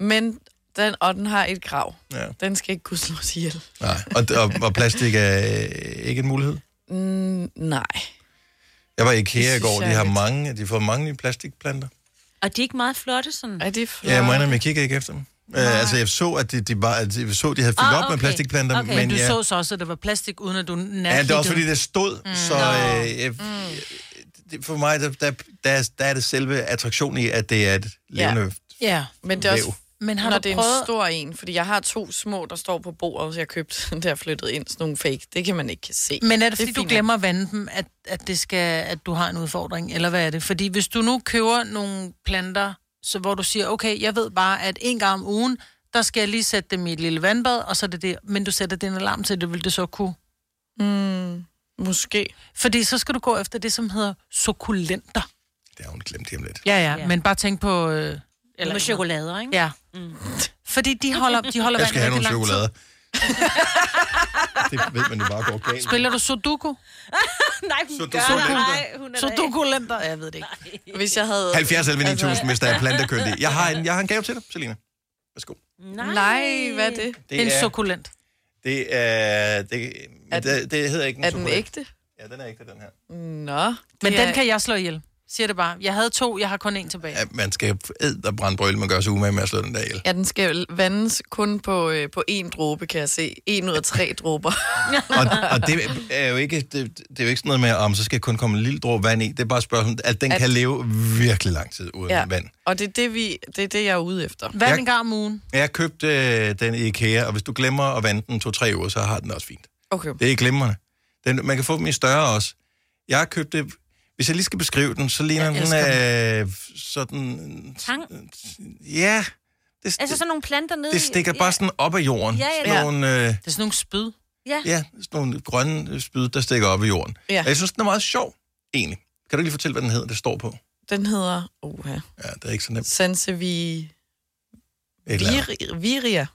E: Men den, og den har et krav.
A: Ja.
E: Den skal ikke kunne slås ihjel.
A: Nej. Og, og, og plastik er øh, ikke en mulighed.
E: Mm, nej.
A: Jeg var i IKEA i
D: synes
A: går, de
D: jeg
A: har
D: lidt.
A: mange, de har fået mange nye plastikplanter.
D: Og de er ikke meget flotte, sådan?
E: Er de
A: Ja, jeg må indrømme, jeg kigger ikke efter dem. Øh, altså, jeg så, at de, de, bare, at de, så, de havde fyldt
C: Ah,
A: op med
C: okay.
A: plastikplanter,
C: Okay.
A: men
C: du
A: jeg,
C: så så også, at det var plastik, uden at du nærkiggede.
A: Ja, det er også fordi, det stod, mm. så
C: Nå.
A: øh, jeg, det, for mig, der, der, der, er- der er det selve attraktion i, at det er et levende
E: Ja, men det er også...
A: Væv.
E: Men
C: Men
E: har
C: har
E: når
C: du
E: det er en
C: prøvet-
E: stor en, fordi jeg har to små, der står på bordet, så jeg købte, da jeg flyttede ind, sådan nogle fake. Det kan man ikke se.
C: Men er det, fordi du
E: fint
C: glemmer at vande dem, at, at, det skal, at du har en udfordring, eller hvad er det? Fordi hvis du nu køber nogle planter, så hvor du siger, okay, jeg ved bare, at en gang om ugen, der skal jeg lige sætte dem i et lille vandbad, og så er det det, men du sætter din alarm til, det vil det så kunne.
E: Mm, måske.
C: Fordi så skal du gå efter det, som hedder sukulenter.
A: Det har hun glemt hjem lidt.
C: Ja, ja, ja. men bare tænk på... Øh,
D: Med chokolader, ikke?
C: Ja.
D: Mm.
C: Fordi de holder, de holder
A: Jeg skal have
C: vand
A: nogle
C: rigtig lang tid.
A: chokolader. det ved man jo bare går galt.
C: Spiller du Sudoku?
D: Nej,
A: hun Sudoku. gør det. Nej,
D: hun
C: er Sudoku lenter, jeg ved det ikke.
E: Hvis jeg havde...
A: 70 11 9000, hvis der er plantekyndig. Jeg har en, jeg har en gave til dig, Selina. Værsgo.
E: Nej. Nej, hvad er det?
A: Det En er-
C: sukulent.
A: Det er... Det, er det, det hedder ikke en
E: Er den
A: chokolade.
E: ægte?
A: Ja, den er ægte, den her.
E: Nå.
C: Men
E: det er-
C: den kan jeg slå ihjel. Siger det bare. Jeg havde to, jeg har kun en tilbage.
A: Ja, man skal æde og brænde brøl, man gør sig umage med at slå den der ihjel.
E: Ja, den skal vandes kun på, øh, på én dråbe, kan jeg se. En ud af tre dråber.
A: Og, og det, er jo ikke, det, det er jo ikke sådan noget med, om så skal kun komme en lille dråbe vand i. Det er bare et spørgsmål, at den
E: At-
A: at... kan leve virkelig lang tid uden ja. vand.
E: Og det er det, vi, det er det, jeg er ude efter.
A: Vand Jeg- en gang
C: om ugen.
A: Jeg købte øh, den i IKEA, og hvis du glemmer at vande den to-tre uger, så har den det også fint.
E: Okay.
A: Det er ikke glimrende. Den, man kan få dem i større også. Jeg har købt det... Hvis jeg lige skal beskrive den, så ligner den øh, sådan... øh,
D: Tang.
A: Ja, det,
D: Altså sådan nogle planter nede
A: det stikker
D: i...
A: bare sådan op af jorden.
D: Ja, ja,
A: Sådan
D: ja.
A: Nogle, øh,
C: Det er sådan nogle spyd.
D: Ja.
A: ja, sådan nogle grønne spyd, der stikker op af jorden.
E: Ja.
A: Og jeg synes, den er meget sjov, egentlig. Kan du lige fortælle, hvad den hedder, det står på?
E: Den hedder... Oha.
A: Ja, det er ikke så nemt.
E: Sansevi...
A: Et eller andet.
E: Vir- viria.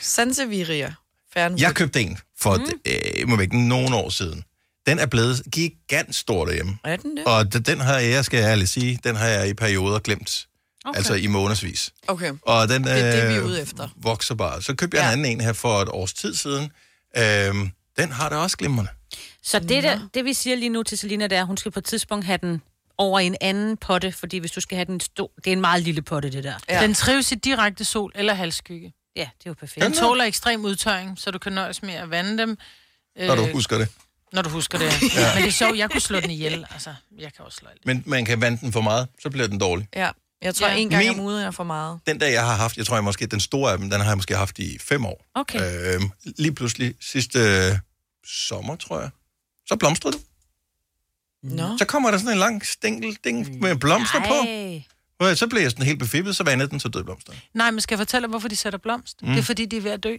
E: Sanseviria. Fernwood.
A: Jeg købte en for mm. øh, må væk, nogle år siden. Den er blevet gigantstor derhjemme.
E: Er den det?
A: Og d- den har jeg, skal jeg ærligt sige, den har jeg i perioder glemt. Okay. Altså i månedsvis.
E: Okay.
A: Og den,
E: det er det, vi er
A: øh,
E: ude efter.
A: vokser bare. Så købte jeg ja. en anden en her for et års tid siden. Øhm, den har det også glimrende.
D: Så det, der, det, vi siger lige nu til Selina, det er, at hun skal på et tidspunkt have den over i en anden potte, fordi hvis du skal have den stor... Det er en meget lille potte, det der.
C: Ja. Den trives i direkte sol eller halvskygge.
D: Ja, det er jo perfekt.
C: Den tåler ekstrem udtørring, så du kan nøjes med at vande dem. øh,
A: når
E: Øh.
A: du husker det.
C: Når du husker det.
A: Ja.
C: ja. Men det er sjovt, jeg kunne slå den ihjel. Altså, jeg kan også slå ihjel.
A: Men man kan vande den for meget, så bliver den dårlig.
E: Ja, jeg tror,
C: Ja.
E: ja. en gang
C: Min-
E: om ugen er for meget.
A: Den der, jeg har haft, jeg tror jeg måske, den store af dem, den har jeg måske haft i fem år.
E: Okay.
A: Øhm, lige pludselig sidste øh, sommer, tror jeg, så blomstrede det.
E: Nå.
A: Så kommer der sådan en lang stænkel ding med blomster på. Og Så blev jeg sådan helt befippet, så vandede den, så døde blomsterne.
C: Nej, men skal jeg fortælle dig, hvorfor de sætter blomst?
A: Mm.
C: Mm. Det er, fordi de er ved at dø.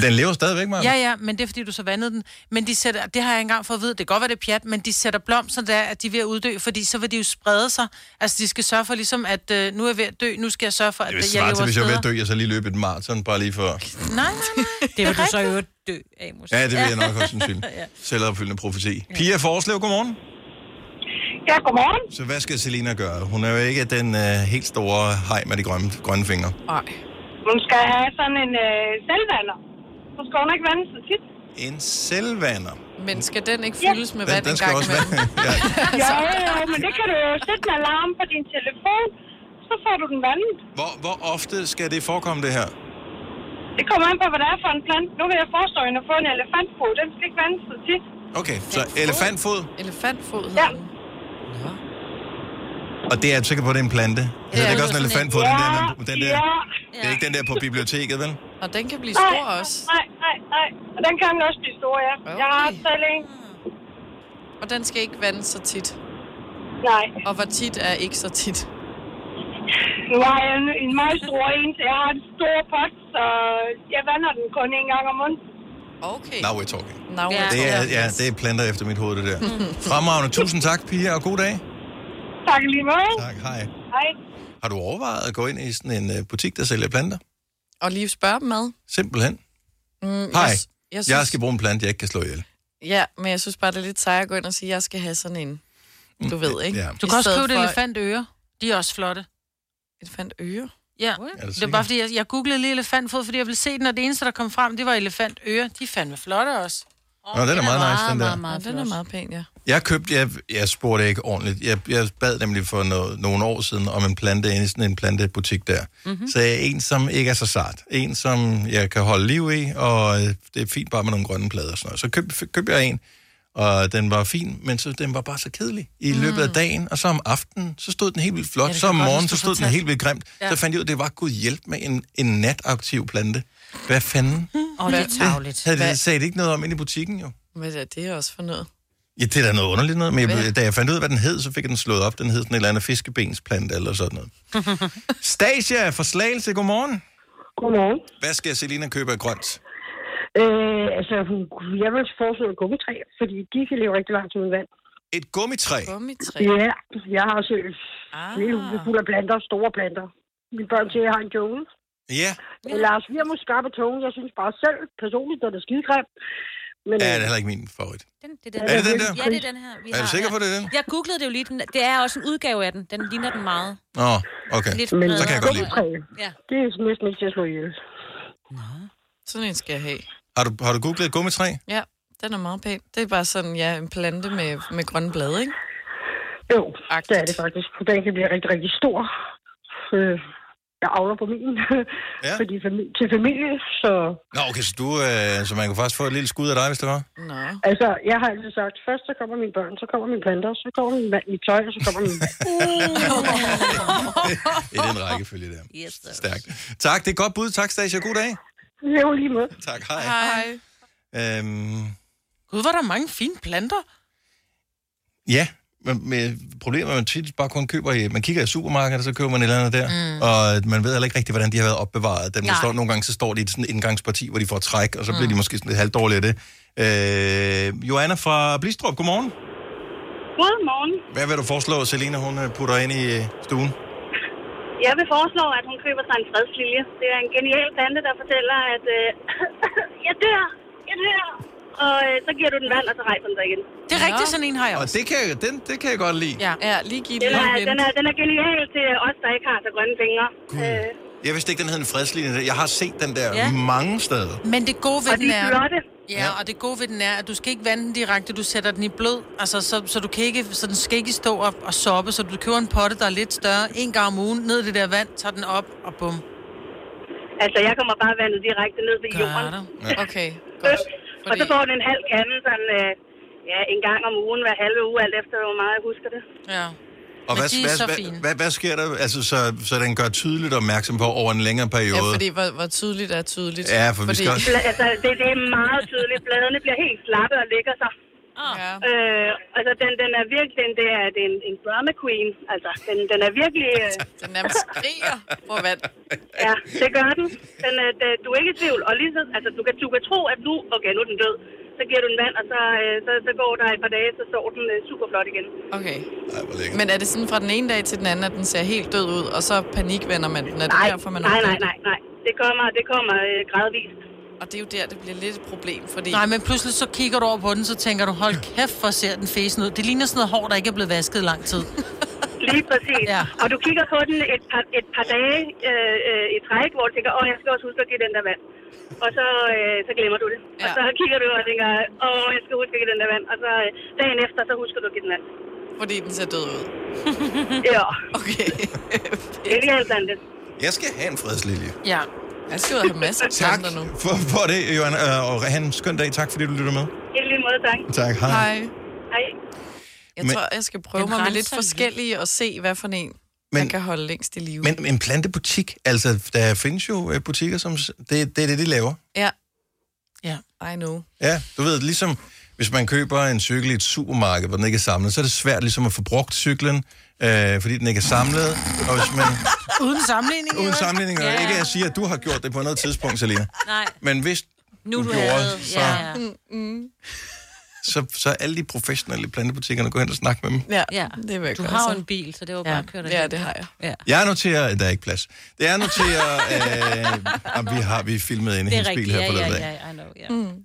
A: Den lever stadigvæk, meget.
C: Ja, ja, men det er, fordi du så vandede den. Men de sætter, det har jeg engang fået at vide, det kan godt være, det er pjat, men de sætter blomster der, at de er ved at uddø, fordi så vil de jo sprede sig. Altså, de skal sørge for ligesom, at øh, nu er jeg ved at dø, nu skal jeg sørge for, at
A: Det
C: jeg
A: vil
C: lever
A: svare til, hvis jeg var ved
C: steder.
A: at dø, jeg så lige løb et maraton, bare lige for...
C: Nej, nej, nej.
D: Det vil du så
C: rigtigt.
D: jo dø af, måske.
A: Ja, det vil jeg nok også sandsynligt. Selvopfyldende profeti. Pia Forslev, godmorgen.
Q: Ja, godmorgen.
A: Så hvad skal Selina gøre? Hun er jo ikke den øh, helt store hej med de grønne, grønne fingre.
E: Nej.
Q: Hun skal have sådan en øh, selvvander. Så skal hun ikke vande så tit.
A: En selvvander.
E: Men skal den ikke fyldes med vand
A: den, den
E: en
A: skal
E: gang
A: også
E: imellem?
A: være...
Q: Ja, ja, men det kan du jo sætte en alarm på din telefon, så får du den vandet.
A: Hvor, hvor ofte skal det forekomme, det her?
Q: Det kommer an på, hvad det er for en plante. Nu vil jeg foreslå hende at få en elefantfod. Den skal ikke vandes så tit.
A: Okay, så elefantfod,
E: Elefantfod
Q: Ja.
A: og det er jeg sikker på, at det er en plante. Ja, det er ikke også en elefantfod, den der, man- den der... Det er ikke den der på biblioteket, vel?
E: Og den kan blive
Q: Nej,
E: stor også.
Q: Nej, nej, nej. Og den kan også blive stor, ja. Okay. Jeg har selv en.
E: Og den skal ikke vande så tit.
Q: Nej.
E: Og hvor tit er ikke så tit.
Q: Nu har jeg en, en meget stor en, så jeg har en stor pot, så jeg vander den kun en gang om måneden.
E: Okay.
A: Now we're talking.
E: Now
Q: Ja.
A: Det er, ja, det er planter efter mit hoved, det der. Fremragende. Tusind tak, Pia, og god dag.
Q: Tak i lige måde.
A: Tak, hej.
Q: Hej.
A: Har du overvejet at gå ind i sådan en øh, butik, der sælger planter?
E: Og lige spørge dem ad.
A: Simpelthen.
E: Mm,
A: Hej,
E: Jeg, jeg, synes,
A: jeg skal bruge en plante, jeg ikke kan slå ihjel.
E: Ja, men jeg synes bare, det er lidt sejt at gå ind og sige, at jeg skal have sådan en.
Q: Mm,
E: Du ved, ikke?
A: Ja.
C: Du kan også
E: I
C: købe
E: stedet
C: et elefantøre. De er også flotte.
E: Elefantøre?
C: Ja,
E: du
C: det er
E: sikker?
C: bare fordi, jeg, jeg googlede lige elefantfod, fordi jeg ville se den, og det eneste, der kom frem, det var elefantøre. De er fandme flotte også.
A: Nå, den er meget nice, den der.
E: Ja, den er meget pæn, ja.
A: Jeg købte, jeg, jeg spurgte ikke ordentligt. Jeg, jeg bad nemlig for noget, nogle år siden om en plante inde i sådan en plantebutik der.
R: Mhm.
A: Mm-hmm. Så jeg er en, som ikke er så sart. En, som jeg kan holde liv i, og øh, det er fint bare med nogle grønne plader og sådan noget. Så køb, f- købte jeg en, og den var fin, men så den var bare så kedelig i løbet af dagen. Og så om aftenen, så stod den helt vildt flot.
R: Mm. Ja,
A: Ja,
R: det
A: så om
R: kan jeg godt
A: morgenen,
R: huske,
A: så
R: du
A: stod den
R: fortalte.
A: helt vildt grimt.
R: Ja.
A: Ja. Så fandt jeg ud af, at det var gud hjælp med en, en nataktiv plante. Hvad fanden?
E: Åh, det er tarveligt.
A: Havde
E: Hvad-
A: det, sagde det ikke noget om inde i butikken, jo?
E: Men ja, det er også for noget.
A: Ja, det er da noget underligt noget, men
E: Hvad?
A: jeg, da jeg fandt ud af, hvad den hed, så fik jeg den slået op. Den hed sådan et eller andet fiskebensplante eller sådan noget. Stasia fra Slagelse, godmorgen.
Q: Godmorgen.
A: Hvad skal Selina købe af grønt?
Q: Øh, altså, hun- jeg vil foreslå et gummitræ, fordi de kan leve rigtig langt uden vand.
A: Et gummitræ.
E: Gummitræ?
Q: Ja, jeg har også ah. hele huset fuld af planter, store planter. Mine børn siger, at jeg har en jungle.
A: Ja.
Q: Ja. Lars Virmus skarpe tunge, jeg synes bare selv, personligt, den er skidegrim. Men,
A: Ja, det er heller ikke min favorit.
D: Det der.
A: Er det den der?
D: Ja, det er den her. Vi
A: Er du sikker på, det er den?
D: Jeg googlede det jo lige. Den, det er også en udgave af den. Den ligner den meget.
A: Nå, okay.
D: Lidt
A: Men,
D: bredere.
A: så kan jeg godt lide den.
D: Ja.
Q: Det er næsten ikke til at slå ihjel.
E: Sådan en skal jeg have.
A: har du, har du googlet et gummitræ?
E: Ja, den er meget pæn. Det er bare sådan, ja, en plante med, med grønne blade, ikke?
Q: Jo, det er det faktisk. Den kan blive rigtig, rigtig stor. Øh, jeg avler på min, ja. fordi fami- til familie, så...
A: Nå, okay, så, du, øh, så man kunne faktisk få et lille skud af dig, hvis det var.
E: Nå.
Q: Altså, jeg har altid sagt, først så kommer mine børn, så kommer mine planter, så kommer min mand, mit tøj, og så kommer min mand.
A: I den rækkefølge der. Yes, Stærkt. Tak, det er et godt bud. Tak, Stasia. God dag.
Q: Jo, lige med.
A: Tak, hej.
C: Hej.
A: Øhm,
C: Gud, hvor er der mange fine planter.
A: Ja, men med problemet er, at man tit bare kun køber i... Man kigger i supermarkedet, og så køber man et eller andet der, mm.
C: Mm.
A: og man ved heller ikke rigtigt, hvordan de har været opbevaret. Dem, der
C: Nej.
A: står, nogle gange så står de i sådan et indgangsparti, hvor de får træk, og så bliver de måske sådan lidt halvdårlige af det. Øh, Joanna fra Blistrup, godmorgen.
Q: Godmorgen.
A: Hvad vil du foreslå, Selina, hun øh, putter ind i øh, stuen?
Q: Jeg vil foreslå, at hun køber sig en fredslilje. Det er en genial plante, der fortæller, at øh, jeg dør, jeg dør. Og øh, så giver du den vand, og så rejser den sig igen.
C: Det er rigtigt, sådan en har jeg
A: Og det kan, jeg- den, det kan jeg godt lide.
C: Ja,
E: ja lige give
Q: den, er, den, er, den er genial til os, der ikke har så grønne fingre. Øh,
A: Jeg vidste ikke, den hed en fredslinje. Jeg har set den der
Q: Ja.
A: ja. mange steder.
C: Men det gode ved
Q: og de
C: den
Q: er
C: er,
Q: flotte.
C: Ja, og det gode ved den er, at du skal ikke vande den direkte, du sætter den i blød, altså, så, så, du kan ikke, så den skal ikke stå og, og soppe, så du køber en potte, der er lidt større, en gang om ugen, ned i det der vand, tager den op, og bum.
Q: Altså, jeg kommer bare vandet direkte ned til jorden.
C: Ja. Okay.
Q: Godt. Og så får den en halv kande, sådan, øh, ja, en gang om ugen, hver halve uge, alt efter, hvor meget jeg husker det.
C: Ja.
A: Og hvad, hvad, hvad, hvad, hvad sker der, altså, så, så den gør tydeligt opmærksom på over en længere periode?
E: Ja, fordi hvor, hvor tydeligt er tydeligt.
A: Ja, for vi skal også-
Q: Bla- altså, det, det er meget tydeligt. Bladene bliver helt slappe og ligger sig.
E: Ja.
Q: Øh, altså, den, den er virkelig, den, det er, det er en, en drama queen. Altså, den, den er virkelig... Øh...
E: Den nærmest skriger på vand.
Q: Ja, det gør den. den øh, det, du er ikke i tvivl. Og lige så, altså, du, kan, du kan tro, at nu, okay, nu er den død. Så giver du den vand, og så, øh, så, så går der et par dage, så står den øh, super flot igen.
E: Okay. Men er det sådan fra den ene dag til den anden, at den ser helt død ud, og så panikvender man den? Er det
Q: nej,
E: derfor, man
Q: nej,
E: opdager
Q: nej, nej, nej. Det kommer, det kommer øh, gradvist.
E: Og det er jo der, det bliver lidt et problem, fordi...
C: Nej, men pludselig så kigger du over på den, så tænker du, hold kæft, hvor ser den fesen ud. Det ligner sådan noget hår, der ikke er blevet vasket i lang tid.
Q: Lige præcis. Ja. Og du kigger på den et par, et par dage øh, øh, i træk, hvor du tænker, åh, jeg skal også huske at give den der vand. Og så, øh, så glemmer du det. Ja. Og så kigger du og tænker, åh, jeg skal huske at give den der vand. Og så øh, dagen efter, så husker du at give den vand.
E: Fordi den ser død ud. Mm.
Q: ja. Okay. det er helt andet.
A: Jeg skal have en fredslilje.
E: Ja. Jeg skal ud og have masser af
A: Tak
E: planter nu.
A: for, for det, Johan, øh, og have en skøn dag. Tak, fordi du lytter med.
Q: I lige måde, tak.
A: Tak, hej.
E: Hej.
Q: Hej.
E: Jeg
A: Men-
E: tror, jeg skal prøve
A: Den
E: mig med lidt
A: renser
E: forskellige og se, hvad for en,
A: Men-
E: man kan holde længst i live.
A: Men en plantebutik, altså, der findes jo øh, butikker, som s- det, det er det, de laver.
E: Ja.
C: Ja.
E: I know.
A: Ja, du ved, ligesom hvis man køber en cykel i et supermarked, hvor den ikke er samlet, så er det svært ligesom at få brugt cyklen, øh, fordi den ikke er samlet. Og hvis man,
C: Uden sammenligning.
A: uden
C: Johan.
A: sammenligning, og
C: Ja.
A: ikke at jeg siger, at du har gjort det på noget tidspunkt, Selina.
D: Nej.
A: Men hvis
D: Nu
A: du
D: du
A: gjorde,
D: havde...
A: så,
D: Ja, ja.
E: Mm.
A: så, så er alle de professionelle i plantebutikkerne, gå hen og snak med dem.
E: Ja,
D: ja.
E: det vil jeg
D: Du
E: gøre
D: har jo
E: så.
D: en bil, så det var
E: Ja.
D: bare at køre dig
E: Ja,
D: hen.
E: det har jeg.
D: Ja.
A: Jeg noterer, at der er ikke plads. Det er noteret, øh, jamen, vi har vi filmet inde i
D: Det er
A: hendes bil
D: rigtigt,
A: her
D: ja,
A: forleden
D: ja,
A: dag.
D: ja, I know, ja.
E: Mm.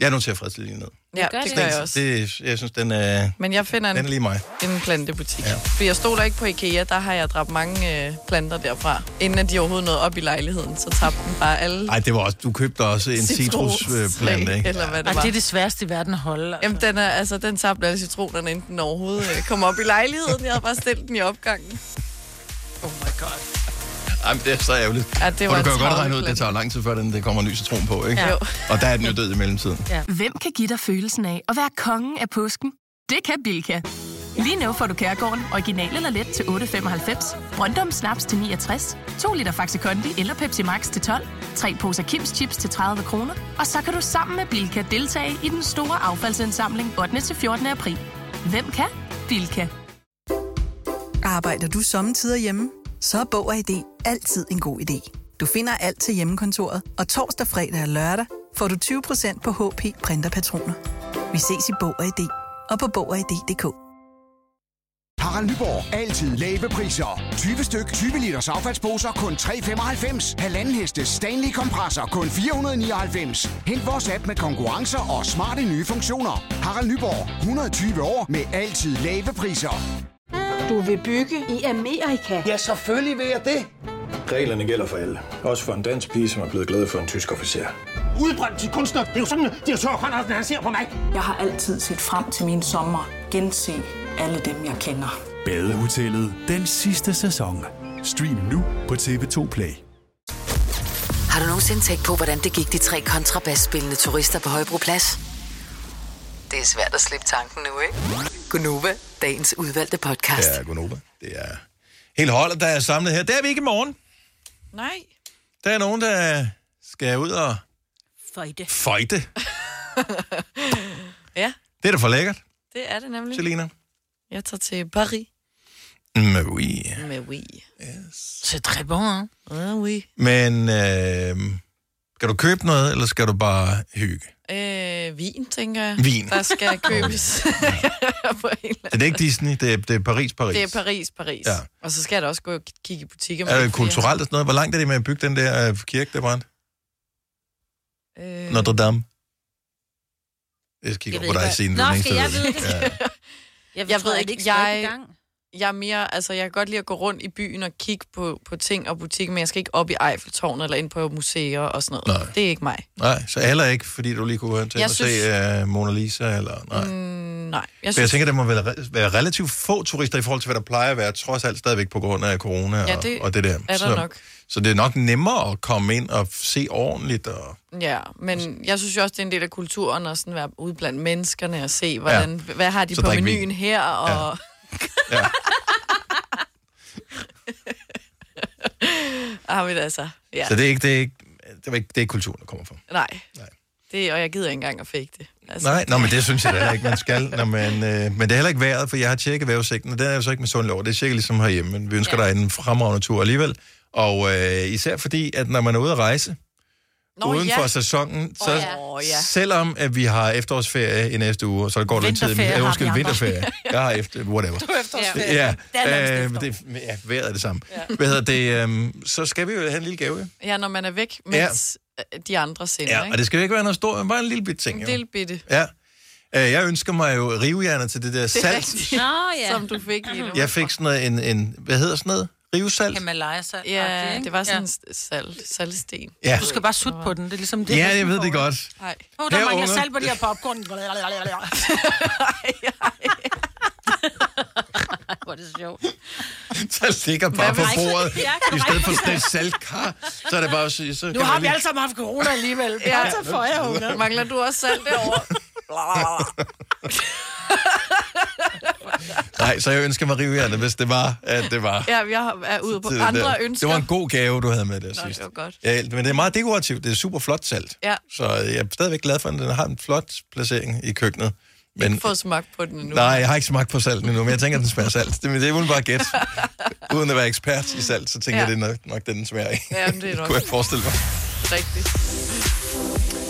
A: Jeg noterer fredslinjen ned.
E: Ja, det gør, det gør jeg også.
A: Det, jeg synes, den er...
E: Men jeg finder en,
A: Den er lige mig.
E: en plantebutik. Ja. For jeg stoler ikke på Ikea, der har jeg dræbt mange øh, planter derfra. Inden at de overhovedet nåede op i lejligheden, så tabte den bare alle.
A: Ej, det var også, du købte også en
E: Citrus-
A: citrusplante, ikke?
E: Eller hvad det
C: Ej,
E: var.
C: det er det sværeste i verden at holde. Altså.
E: Jamen, den, er, altså, den tabte alle citronerne, inden den overhovedet øh, kom op i lejligheden. Jeg havde bare stillet den i opgangen.
A: Ej, men det er så ærgerligt.
E: Ja,
A: Og
E: det
A: du
E: var
A: kan
E: en
A: jo godt
E: travl
A: regne ud,
E: plan.
A: det tager jo lang tid, før den, det kommer en ny citron på, ikke?
M: Ja. Jo.
A: Og der er den jo død i mellemtiden.
M: Ja. Hvem kan give dig følelsen af at være kongen af påsken? Det kan Bilka. Lige nu får du Kærgården original eller let til 8.95, Brøndum Snaps til 69, 2 liter Faxi Kondi eller Pepsi Max til 12, tre poser Kims Chips til 30 kroner, og så kan du sammen med Bilka deltage i den store affaldsindsamling 8. til 14. april. Hvem kan? Bilka.
N: Arbejder du sommetider hjemme? Så er Bog og ID altid en god idé. Du finder alt til hjemmekontoret, og torsdag, fredag og lørdag får du 20% på HP printerpatroner. Vi ses i Bog og ID og på Bog og ID.dk.
H: Harald Nyborg. Altid lave priser. 20 styk, 20 liters affaldsposer kun 3,95. Halvanden heste Stanley kompresser kun 499. Hent vores app med konkurrencer og smarte nye funktioner. Harald Nyborg. 120 år med altid lave priser.
R: Du vil bygge i Amerika? Ja, selvfølgelig vil jeg det.
L: Reglerne gælder for alle. Også for en dansk pige, som er blevet glad for en tysk officer.
O: Udbrændt til kunstner. Det er jo sådan, at de har tørt, at han ser på mig. Jeg har altid set frem til min sommer. Gense alle dem, jeg kender.
P: Badehotellet den sidste sæson. Stream nu på TV2 Play.
F: Har du nogensinde tænkt på, hvordan det gik de tre kontrabasspillende turister på Højbroplads? Det er svært at slippe tanken nu, ikke? Gunova, dagens udvalgte podcast.
A: Ja, godnova. Det er hele holdet, der er samlet her. Det er vi ikke i morgen.
E: Nej.
A: Der er nogen, der skal ud og
D: Føjte.
A: føjte.
E: Ja, Mm.
A: Det er da for lækkert,
E: det er det nemlig.
A: Selina.
E: Jeg tager til Paris.
A: Men oui.
E: Med oui.
C: Yes. C'est très bon, hein?
E: Ah, oui.
A: Men øh, skal du købe noget, eller skal du bare hygge?
E: Øh, vin, tænker jeg.
A: Vin.
E: Der skal købes. På en eller
A: Er det ikke Disney? Det er, det er Paris, Paris.
E: Det er Paris, Paris.
A: Ja.
E: Ja. Og så skal jeg da også gå og k- kigge i butikker.
A: Er
E: det
A: det kulturelt og sådan noget? Hvor langt er det med at bygge den der øh, kirke, der brændte?
E: Øh,
A: Notre Dame. Jeg kigger
E: Jeg
A: på
E: ved
A: dig
E: ikke,
A: siden.
E: hvad-
A: den
E: Nå,
A: eneste,
E: skal
A: der
E: jeg
A: ved
E: vide det?
A: Ja.
E: Jeg, jeg
D: tror,
E: ved
D: er det
E: ikke,
D: ikke
E: jeg...
D: skrevet i gang?
E: jeg er mere, altså jeg kan godt lide at gå rundt i byen og kigge på, på ting og butikker, men jeg skal ikke op i Eiffeltårnet eller ind på museer og sådan noget.
A: Nej.
E: Det er ikke mig.
A: Nej, så heller ikke, fordi du lige kunne tænke
E: Jeg
A: at se
E: synes-
A: uh, Mona Lisa, eller nej. Mm,
E: Nej.
A: Jeg, synes... jeg tænker, der må være, være relativt få turister i forhold til, hvad der plejer at være, trods alt stadigvæk på grund af corona
E: Ja,
A: og,
E: det
A: og det der.
E: er der
A: så,
E: nok.
A: så det er nok nemmere at komme ind og se ordentligt. Og...
E: Ja, men jeg synes jo også, det er en del af kulturen at sådan være ude blandt menneskerne og se, hvordan, ja. hvad har de
A: Så
E: så på
A: drik vin.
E: menuen her, og...
A: Ja.
E: Har vi det altså. Ja.
A: Så det er ikke, det er ikke, det er ikke, det er ikke kulturen, der kommer fra.
E: Nej. Nej. Det, og jeg gider ikke engang at fake det.
A: Altså... Nej, nå, men det synes jeg da heller ikke, man skal. Nå, men, øh, men det er heller ikke vejret, for jeg har tjekket vejrudsigten, og den er jo så ikke med sund lov. Det er cirka ligesom herhjemme, men vi ønsker ja. dig en fremragende tur alligevel. Og øh, især fordi, at når man er ude at rejse, Nå, uden ja. for sæsonen, så
E: Åh, ja. Åh, ja.
A: selvom at vi har efterårsferie i næste uge, og så går det en tid...
E: Vinterferie
A: Øh,
E: har
A: undskyld,
E: vi andre.
A: vinterferie. Jeg har efter... Whatever.
E: Du er efterårsferie.
A: Ja,
E: Det er
A: ja.
E: langt
A: Øh, det, ja vejret er det samme. Ja. Hvad hedder det? øhm, så skal vi jo have en lille gave. jo.
E: Ja, når man er væk,
A: Ja.
E: mens ja. de andre sender,
A: Ja,
E: ikke?
A: og det skal jo ikke være noget stort, men bare en lille bit ting.
E: En
A: jo.
E: lille bitte.
A: Ja. Øh, Jeg ønsker mig jo rivejerner til det der
E: Det er
A: salt.
E: rigtigt. Nå, ja. Som du fik lige nu.
A: Jeg fik sådan noget, en, en, hvad hedder sådan noget? Rivesalt?
C: Himalaya-salt.
E: Ja, det var sådan
C: ja.
E: salt, saltsten.
A: Ja.
C: Du skal bare sutte på den, det er ligesom det.
A: Ja, jeg ved det godt.
E: Nej.
C: Oh, der
A: Her
C: mangler
A: unge.
C: salt på de her popcorn.
D: Hvor er det sjovt.
A: Så ligger bare
D: Hvad
A: på
D: vil-
A: bordet.
D: Ja,
A: I
D: korrekt.
A: stedet for sådan et saltkar, så er det bare at sige, så
C: Nu
A: kan
C: har
A: man
C: vi
A: lige-
C: alle sammen haft corona alligevel.
E: Ja.
C: Bare ja. for jer, unge.
E: Mangler du også salt derovre?
A: Nej, så jeg ønsker mig rivehjerne, hvis det var, at det var.
E: Ja, jeg er ude på
A: til det
E: andre
A: der.
E: ønsker.
A: Det var en god gave, du havde med der
E: Nå,
A: sidst.
E: det var godt.
A: Ja, men det er meget dekorativt. Det er super flot salt.
E: Ja.
A: Så jeg er stadigvæk glad for, at den har en flot placering i køkkenet.
E: Men... Ikke fået smagt på den endnu.
A: Nej, jeg har ikke smagt på salt endnu, men jeg tænker, at den smager af salt. Det, men det er vel bare gæt. Uden at være ekspert i salt, så tænker
E: Ja.
A: ja. jeg, det er nok, nok den, den smager af.
E: Ja, men det er nok.
A: Kunne jeg forestille mig.
E: Rigtigt.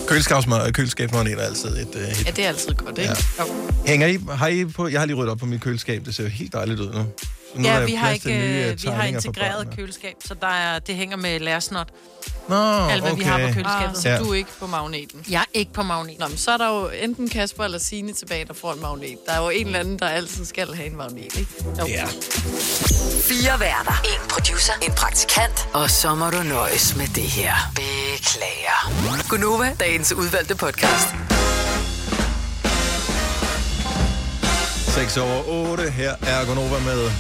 A: Køleskabsmad, køleskabsmagnet øh, er altid et uh, hit.
E: Ja, det er altid godt, ikke? Ja.
A: Hænger I, har I på, jeg har lige ryddet op på mit køleskab, det ser jo helt dejligt ud nu. Så nu er
C: Ja,
A: der
C: vi har
A: plads til
C: ikke
A: nye,
C: øh,
A: øh,
C: vi har
A: tegninger på
C: integreret
A: børnene.
C: køleskab, så der er, det hænger med lærsnot.
A: Nå,
C: Alt, hvad vi har på
A: okay.
C: køleskabet.
E: Ah, så
A: Ja.
E: du er ikke på magneten?
C: Jeg er ikke på magneten.
E: Nå, men så er der jo enten Kasper eller Signe tilbage, der får en magnet. Der er jo en eller anden, der altid skal have en magnet, ikke? Jo.
A: Ja.
F: Fire værter. En producer. En praktikant. Og så må du nøjes med det her. Beklager. Gunova, dagens udvalgte podcast.
A: 6 over 8. Her er Gonova med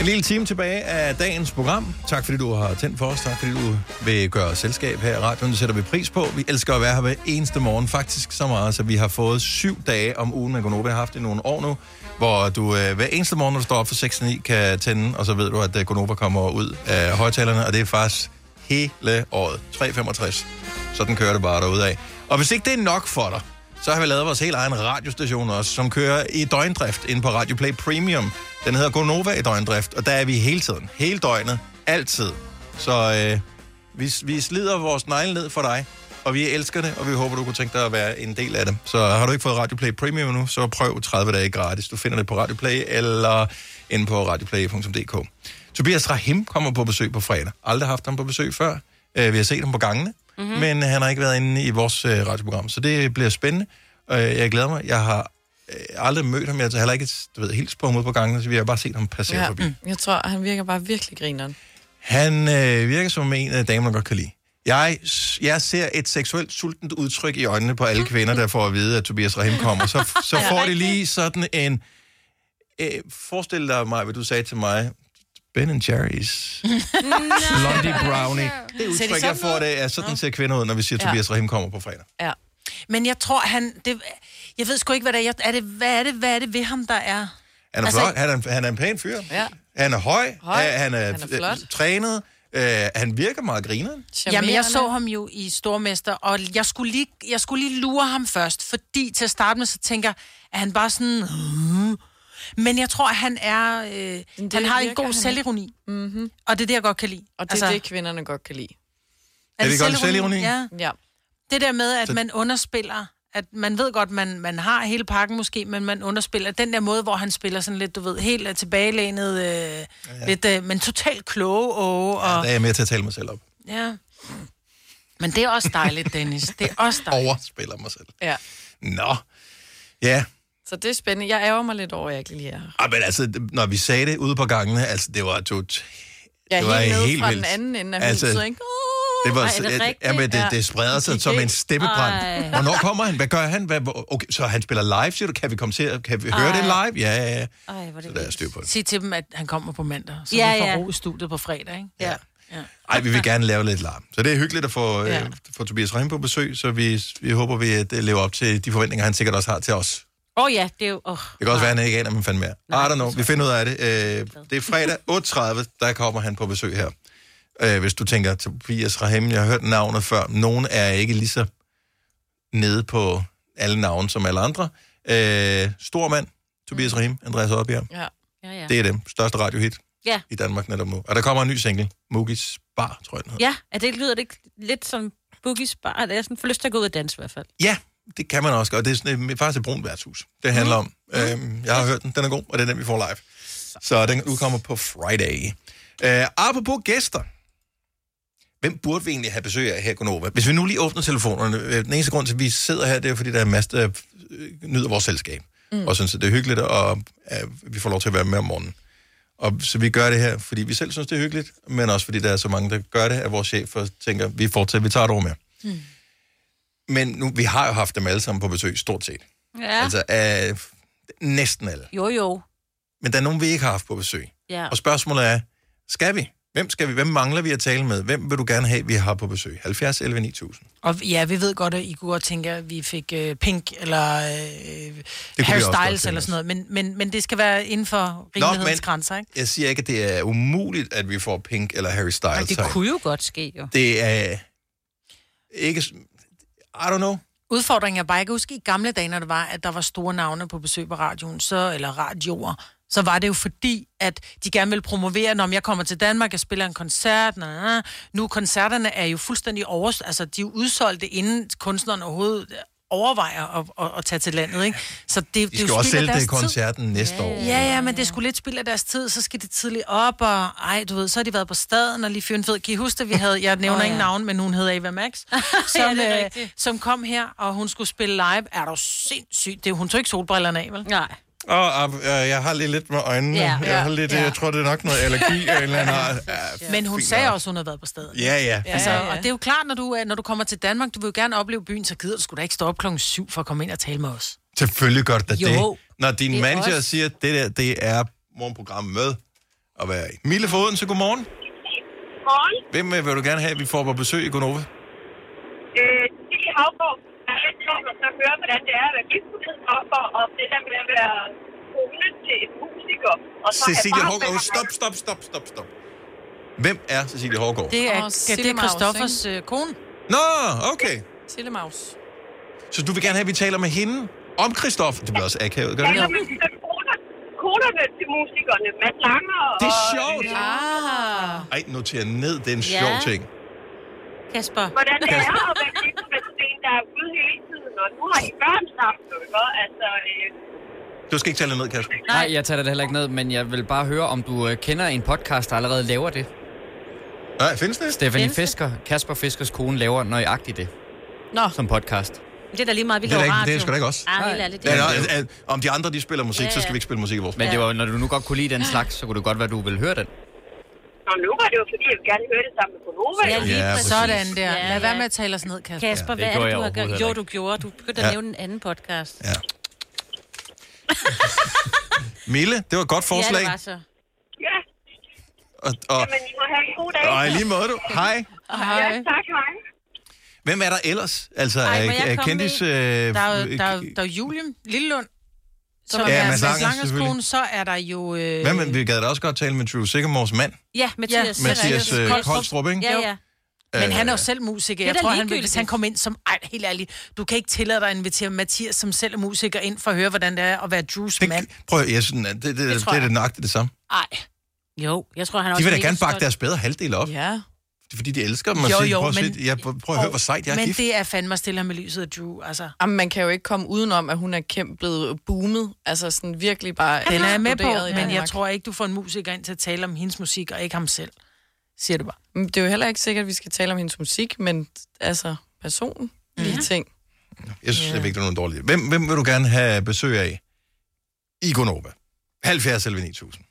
A: en lille time tilbage af dagens program. Tak fordi du har tændt for os. Tak fordi du vil gøre os selskab her i radioen. Det sætter vi pris på. Vi elsker at være her hver eneste morgen. Faktisk så meget, så vi har fået syv dage om ugen med Gonova. Jeg har haft det i nogle år nu, hvor du øh, hver eneste morgen, når du står op for 6 9, kan tænde, og så ved du, at øh, Gonova kommer ud af højtalerne, og det er faktisk hele året. 365. Sådan kører det bare derude af. Og hvis ikke det er nok for dig, så har vi lavet vores helt egen radiostation også, som kører i døgndrift inde på Radio Play Premium. Den hedder Gonova i døgndrift, og der er vi hele tiden. Hele døgnet. Altid. Så øh, vi, vi slider vores negle ned for dig, og vi elsker det, og vi håber, du kunne tænke dig at være en del af det. Så har du ikke fået Radio Play Premium nu, så prøv 30 dage gratis. Du finder det på Radio Play eller inde på radioplay.dk. Tobias Rahim kommer på besøg på fredag. Aldrig haft ham på besøg før. Øh, Vi har set ham på gangene, mm-hmm. men han har ikke været inde i vores øh, radioprogram, så det bliver spændende. Øh, Jeg glæder mig. Jeg har øh, aldrig mødt ham. Jeg har heller ikke du ved, hils på ham ude på gangene, så vi har bare set ham passere
E: Ja,
A: forbi.
E: mm. jeg tror, han virker bare virkelig grineren.
A: Han øh, virker som en af damerne godt kan lide. Jeg, jeg ser et seksuelt sultent udtryk i øjnene på alle kvinder, der får at vide, at Tobias Rahim kommer. Så, så
S: Ja,
A: får de lige sådan en... Øh, forestil dig mig, hvad du sagde til mig. Ben and Jerry's. Blondie brownie. Det
C: Ser de
A: udtryk,
C: sådan
A: jeg får, det er sådan ser kvinder ud, når vi siger, at
C: Ja.
A: Tobias Rahim kommer på fredag.
E: Ja.
C: Men jeg tror, han... Det, jeg ved sgu ikke, hvad det er. Jeg- er. Det, hvad, er det, hvad er det ved ham, der er?
A: Han er
C: Altså-
A: altså, flot, han er, en- han er en pæn fyr.
C: Ja.
A: Han er høj,
C: Høj.
A: øh, han er,
C: Han er flot.
A: øh, trænet, øh, han virker meget grineren.
C: Jamen, jeg så ham jo i Stormester, og jeg skulle, lige, jeg skulle lige lure ham først, fordi til at starte med, så tænker jeg, at han bare sådan... "Øh." Men jeg tror, at han er... Øh, han har en
E: virker
C: god
E: han
C: selvironi.
E: Mm-hmm.
C: Og det er det, jeg godt kan lide.
E: Og det er altså... det, kvinderne godt kan lide.
A: Er det godt selvironi?
C: Ja.
E: ja.
C: Det der med, at
A: Så-
C: man underspiller, at man ved godt, man, man har hele pakken måske, men man underspiller den der måde, hvor han spiller sådan lidt, du ved, helt øh, tilbagelænet, øh, ja. lidt, øh, men totalt kloge åge, og...
A: Der er jeg med til at tale mig selv op.
C: Ja. Men det er også dejligt, Dennis. Det er også dejligt.
A: Overspiller mig selv.
E: Ja.
A: Nå. Ja.
E: Så det er spændende. Jeg ærger mig lidt over, at jeg ikke lige er her.
A: Ej, men altså, når vi sagde det ude på gangene, altså, det var totalt...
E: Jeg er
A: det var
E: helt nede
A: helt
E: fra
A: vildt.
E: den anden ende af
A: Altså,
E: altså, huset, ikke?
A: Det var,
E: Ej, er det
A: et-
E: rigtigt?
A: ja, men det,
E: Ja.
A: det spreder sig som en steppebrand.
E: Ej.
A: Hvornår kommer han? Hvad gør han? Hvad, hvor- okay, så han spiller live, siger du? Kan vi komme til at kan vi høre
C: Ej.
A: det live? Ja, ja, ja.
C: Ej, hvor er det
A: Så der er styr på det.
C: Sig til dem, at han kommer på mandag, så
D: Ja,
C: ja, vi får
D: ja.
C: ro i studiet på fredag, ikke?
A: Ja. Ej, vi vil gerne lave lidt larm. Så det er hyggeligt at få, ja.
C: Ja.
A: øh, få Tobias Rem på besøg, så vi, vi håber, vi at det lever op til de forventninger, han sikkert også har til os.
D: Åh oh, ja, det er jo... Oh.
A: Det kan også være, at han ikke aner, om han fandt mere. I don't know. Vi finder ud af det. Øh, det er fredag 8.30, der kommer han på besøg her. Øh, hvis du tænker, Tobias Rahim, jeg har hørt navnet før. Nogen er ikke lige så nede på alle navne som alle andre. Øh, stor mand, Tobias Rahim, Andreas Oddbjerg.
E: Ja.
D: Ja, Mm. ja.
A: Det er dem. Største radiohit
D: Ja.
A: i Danmark netop nu. Og der kommer en ny single, Mugis Bar, tror jeg den hedder.
D: Ja, er det, lyder det ikke lidt som Boogies Bar? At jeg sådan får lyst til at gå ud og danse i hvert fald.
A: Ja, det kan man også godt. Det er sådan, et- faktisk et brunt værtshus, det handler om. Øhm, jeg har hørt den, den er god, og det er den, vi får live. Så den udkommer på Friday. Øh, apropos gæster. Hvem burde vi egentlig have besøg af her i Gonova? Hvis vi nu lige åbner telefonerne. øh, Den eneste grund til, at vi sidder her, det er, fordi der er en masse, der øh, nyder vores selskab. Mm. Og synes, at det er hyggeligt, og at vi får lov til at være med om morgenen. Og så vi gør det her, fordi vi selv synes, det er hyggeligt, men også fordi der er så mange, der gør det, at vores chefer tænker, vi fortsætter, vi tager et år mere.
D: Mm.
A: Men nu, vi har jo haft dem alle sammen på besøg, stort set.
D: Ja.
A: Altså, øh, næsten alle.
D: Jo, jo.
A: Men der er nogen, vi ikke har haft på besøg.
D: Ja.
A: Og spørgsmålet er, skal vi? Hvem skal vi? Hvem mangler vi at tale med? Hvem vil du gerne have, vi har på besøg? 70 11 9000.
C: Og ja, vi ved godt, at I kunne godt tænke, at vi fik øh, pink eller øh,
A: vi
C: Harry
A: også godt
C: Styles
A: tænke
C: eller sådan noget, men, men, men det skal være inden for rimelighedens
A: men-
C: grænser, ikke?
A: Jeg siger ikke, at det er umuligt, at vi får Pink eller Harry Styles.
D: Ej, det
A: her.
D: kunne jo godt ske, jo.
A: Det er ikke... s- I don't know.
C: Udfordringen er bare, jeg kan huske i gamle dage, når det var, at der var store navne på besøg på radioen, så, eller radioer, så var det jo fordi, at de gerne ville promovere, når jeg kommer til Danmark, jeg spiller en koncert, na, na, na. nu koncerterne er jo fuldstændig over, altså de er jo udsolgte, inden kunstneren overhovedet overvejer at, at, at tage til landet, ikke? Så det, det
A: De
C: er jo
A: skal jo også
C: spild af
A: sælge det i
C: deres tid.
A: koncerten næste år.
C: Ja, ja, men det skulle lidt spild af deres tid, så skal de tidligt op, og ej, du ved, så har de været på staden og lige fyren fed. Kan I huske, at vi havde, jeg nævner
D: Åh,
C: oh,
D: ja.
C: ja. ingen navn, men hun hedder Eva Max, som,
D: det er
C: øh, som kom her, og hun skulle spille live. Er du sindssyg? Det, hun tog ikke solbrillerne af, vel?
D: Nej.
A: Og, og, og jeg har lige lidt med øjnene.
C: Ja.
A: Ja. Jeg, har lidt,
C: Ja.
A: ja. jeg tror, det er nok noget allergi eller en eller anden. art. Ja,
C: Men hun
A: fint
C: sagde
A: nok.
C: også, hun havde været på stedet.
A: Ja, ja.
C: Altså,
A: Ja, ja.
C: Og det er jo klart, når du, er- når du kommer til Danmark, du vil jo gerne opleve byen, så gider du sgu da ikke stå op klokken syv for at komme ind og tale med os.
A: Selvfølgelig gør det da
C: Jo,
A: det. Når din
C: det er
A: det manager
C: også-
A: også... siger, at det der, det er morgenprogrammet med at være i. Mille Foden, så godmorgen.
Q: Morgen.
A: Hvem øh, vil du gerne have, at vi får på besøg i Gonova?
Q: Øh, det er Havgård. Jeg er lidt sjovt at høre, hvordan det er at være virksomhed og for og det der med at være kone til en musiker. Og så have
A: Cecilie
Q: barn med
A: Hågaard,
Q: ham.
A: stop, stop, stop, stop, stop. Hvem er Cecilie Hågaard?
C: Det er,
E: Åh,
C: oh, det er
E: Sillemaus,
C: Christoffers øh, kone.
A: Nå, okay.
E: Tillemaus.
A: Så du vil gerne have, at vi taler med hende om Christoffer? Det bliver også akavet, gør det
Q: Ja,
A: ikke?
Q: men så koder- koderne til musikerne. Mads Langer og...
A: Det er sjovt.
Q: Ah.
A: Ej, noter ned, det er en
Q: Ja.
A: sjov ting.
D: Kasper.
Q: Hvordan det er at være gift med en, der er ude hele tiden, og nu har I børn sammen, ikke? Altså, øh,
A: Du skal ikke tale ned, Kasper.
S: Nej, jeg tager det heller ikke ned, men jeg vil bare høre, om du øh, kender en podcast, der allerede laver det.
A: Nej, findes det?
S: Stephanie
D: Findes det?
S: Fisker, Kasper Fiskers kone, laver nøjagtigt det
D: Nå.
S: som podcast.
D: Men Det er da lige meget, vi
S: Det er da
D: laver
S: ikke-
D: radio.
S: det er sgu da ikke os.
D: Ej, helt ærligt.
A: Ja,
D: Det er,
A: ja, ja. Om de andre, de spiller musik,
D: Ja,
A: så
D: ja.
A: skal vi ikke spille musik i vores
S: Men det var, når du nu godt kunne lide den slags, så kunne det godt være, du ville høre den.
Q: og nu var det jo fordi, jeg ville gerne høre det sammen med Konova.
S: Ja, lige Ja, præcis.
C: Sådan der.
D: Ja,
C: Lad
D: ja.
C: være med at tale os ned, Kasper.
D: Kasper,
S: det
D: hvad er
S: gjorde
D: det,
S: jeg
D: du har
S: overhovedet
D: gjort?
S: heller
D: Jo,
S: ikke.
D: du gjorde. Du begyndte
A: Ja.
D: at nævne en anden podcast.
A: Ja. Mille, det var et godt forslag.
D: Ja, det var så.
Q: Ja,
A: og, og,
Q: men I må have en god dag.
A: og i lige måde du. Hej.
Q: Hej. Ja, tak, hej.
A: Hvem er der ellers? Altså,
C: Ej,
A: er,
C: må jeg
A: er
C: komme
A: kendis...
C: med?
A: Øh,
C: der, er, jo- der, er, jo- der er Julian Lillelund, som
A: Ja,
C: ja, er
A: Mads
C: Mads
A: Langer,
C: Langers
A: selvfølgelig.
C: kone. Så er der jo... Øh,
A: Hvem, er- vi gad da også godt tale med Drew Sigamores mand.
D: Ja, Mathias.
A: Mathias, øh, Kolstrup, ikke?
D: Ja, ja.
C: Men
A: Øh,
C: han er jo selv musiker.
D: Det er
C: Jeg
D: da
C: tror, han vil,
D: ligegyldigt.
C: hvis han kom ind som... Ej, helt ærligt, du kan ikke tillade dig at invitere Mathias, som selv er musiker, ind for at høre, hvordan det er at være Drews mand.
A: Prøv at jeg sådan, at det, det, det,
C: tror
A: det
C: jeg.
A: er det nøjagtigt det samme.
C: Ej.
D: øh, Jo, jeg tror, han er
A: De
D: også
A: vil da
D: mega
A: gerne bakke
D: stolt.
A: deres bedre halvdel op.
C: Ja.
A: Det er fordi, de elsker dem. og
C: Jo,
A: siger,
C: jo,
A: prøv, at se,
C: men-
A: ja, prøv, prøv at høre, hvor sejt jeg er
C: Men
A: gift.
C: det er fandme at stille ham i lyset af Drew, altså.
E: Jamen, man kan jo ikke komme udenom, at hun er kæmpe blevet boomet. Altså sådan virkelig bare
C: Den er jeg med
E: eksploderet i
C: på, men
E: Danmark.
C: jeg tror ikke, du får en musiker ind til at tale om hendes musik, og ikke ham selv. Siger du bare.
E: Men Mm, Det er jo heller ikke sikkert, at vi skal tale om hendes musik, men altså personen. Lige ting.
A: Jeg synes, det er vigtigt, at nogen dårlige. Hvem, hvem vil du gerne have besøg af? i Gonova. 70 eller 9000.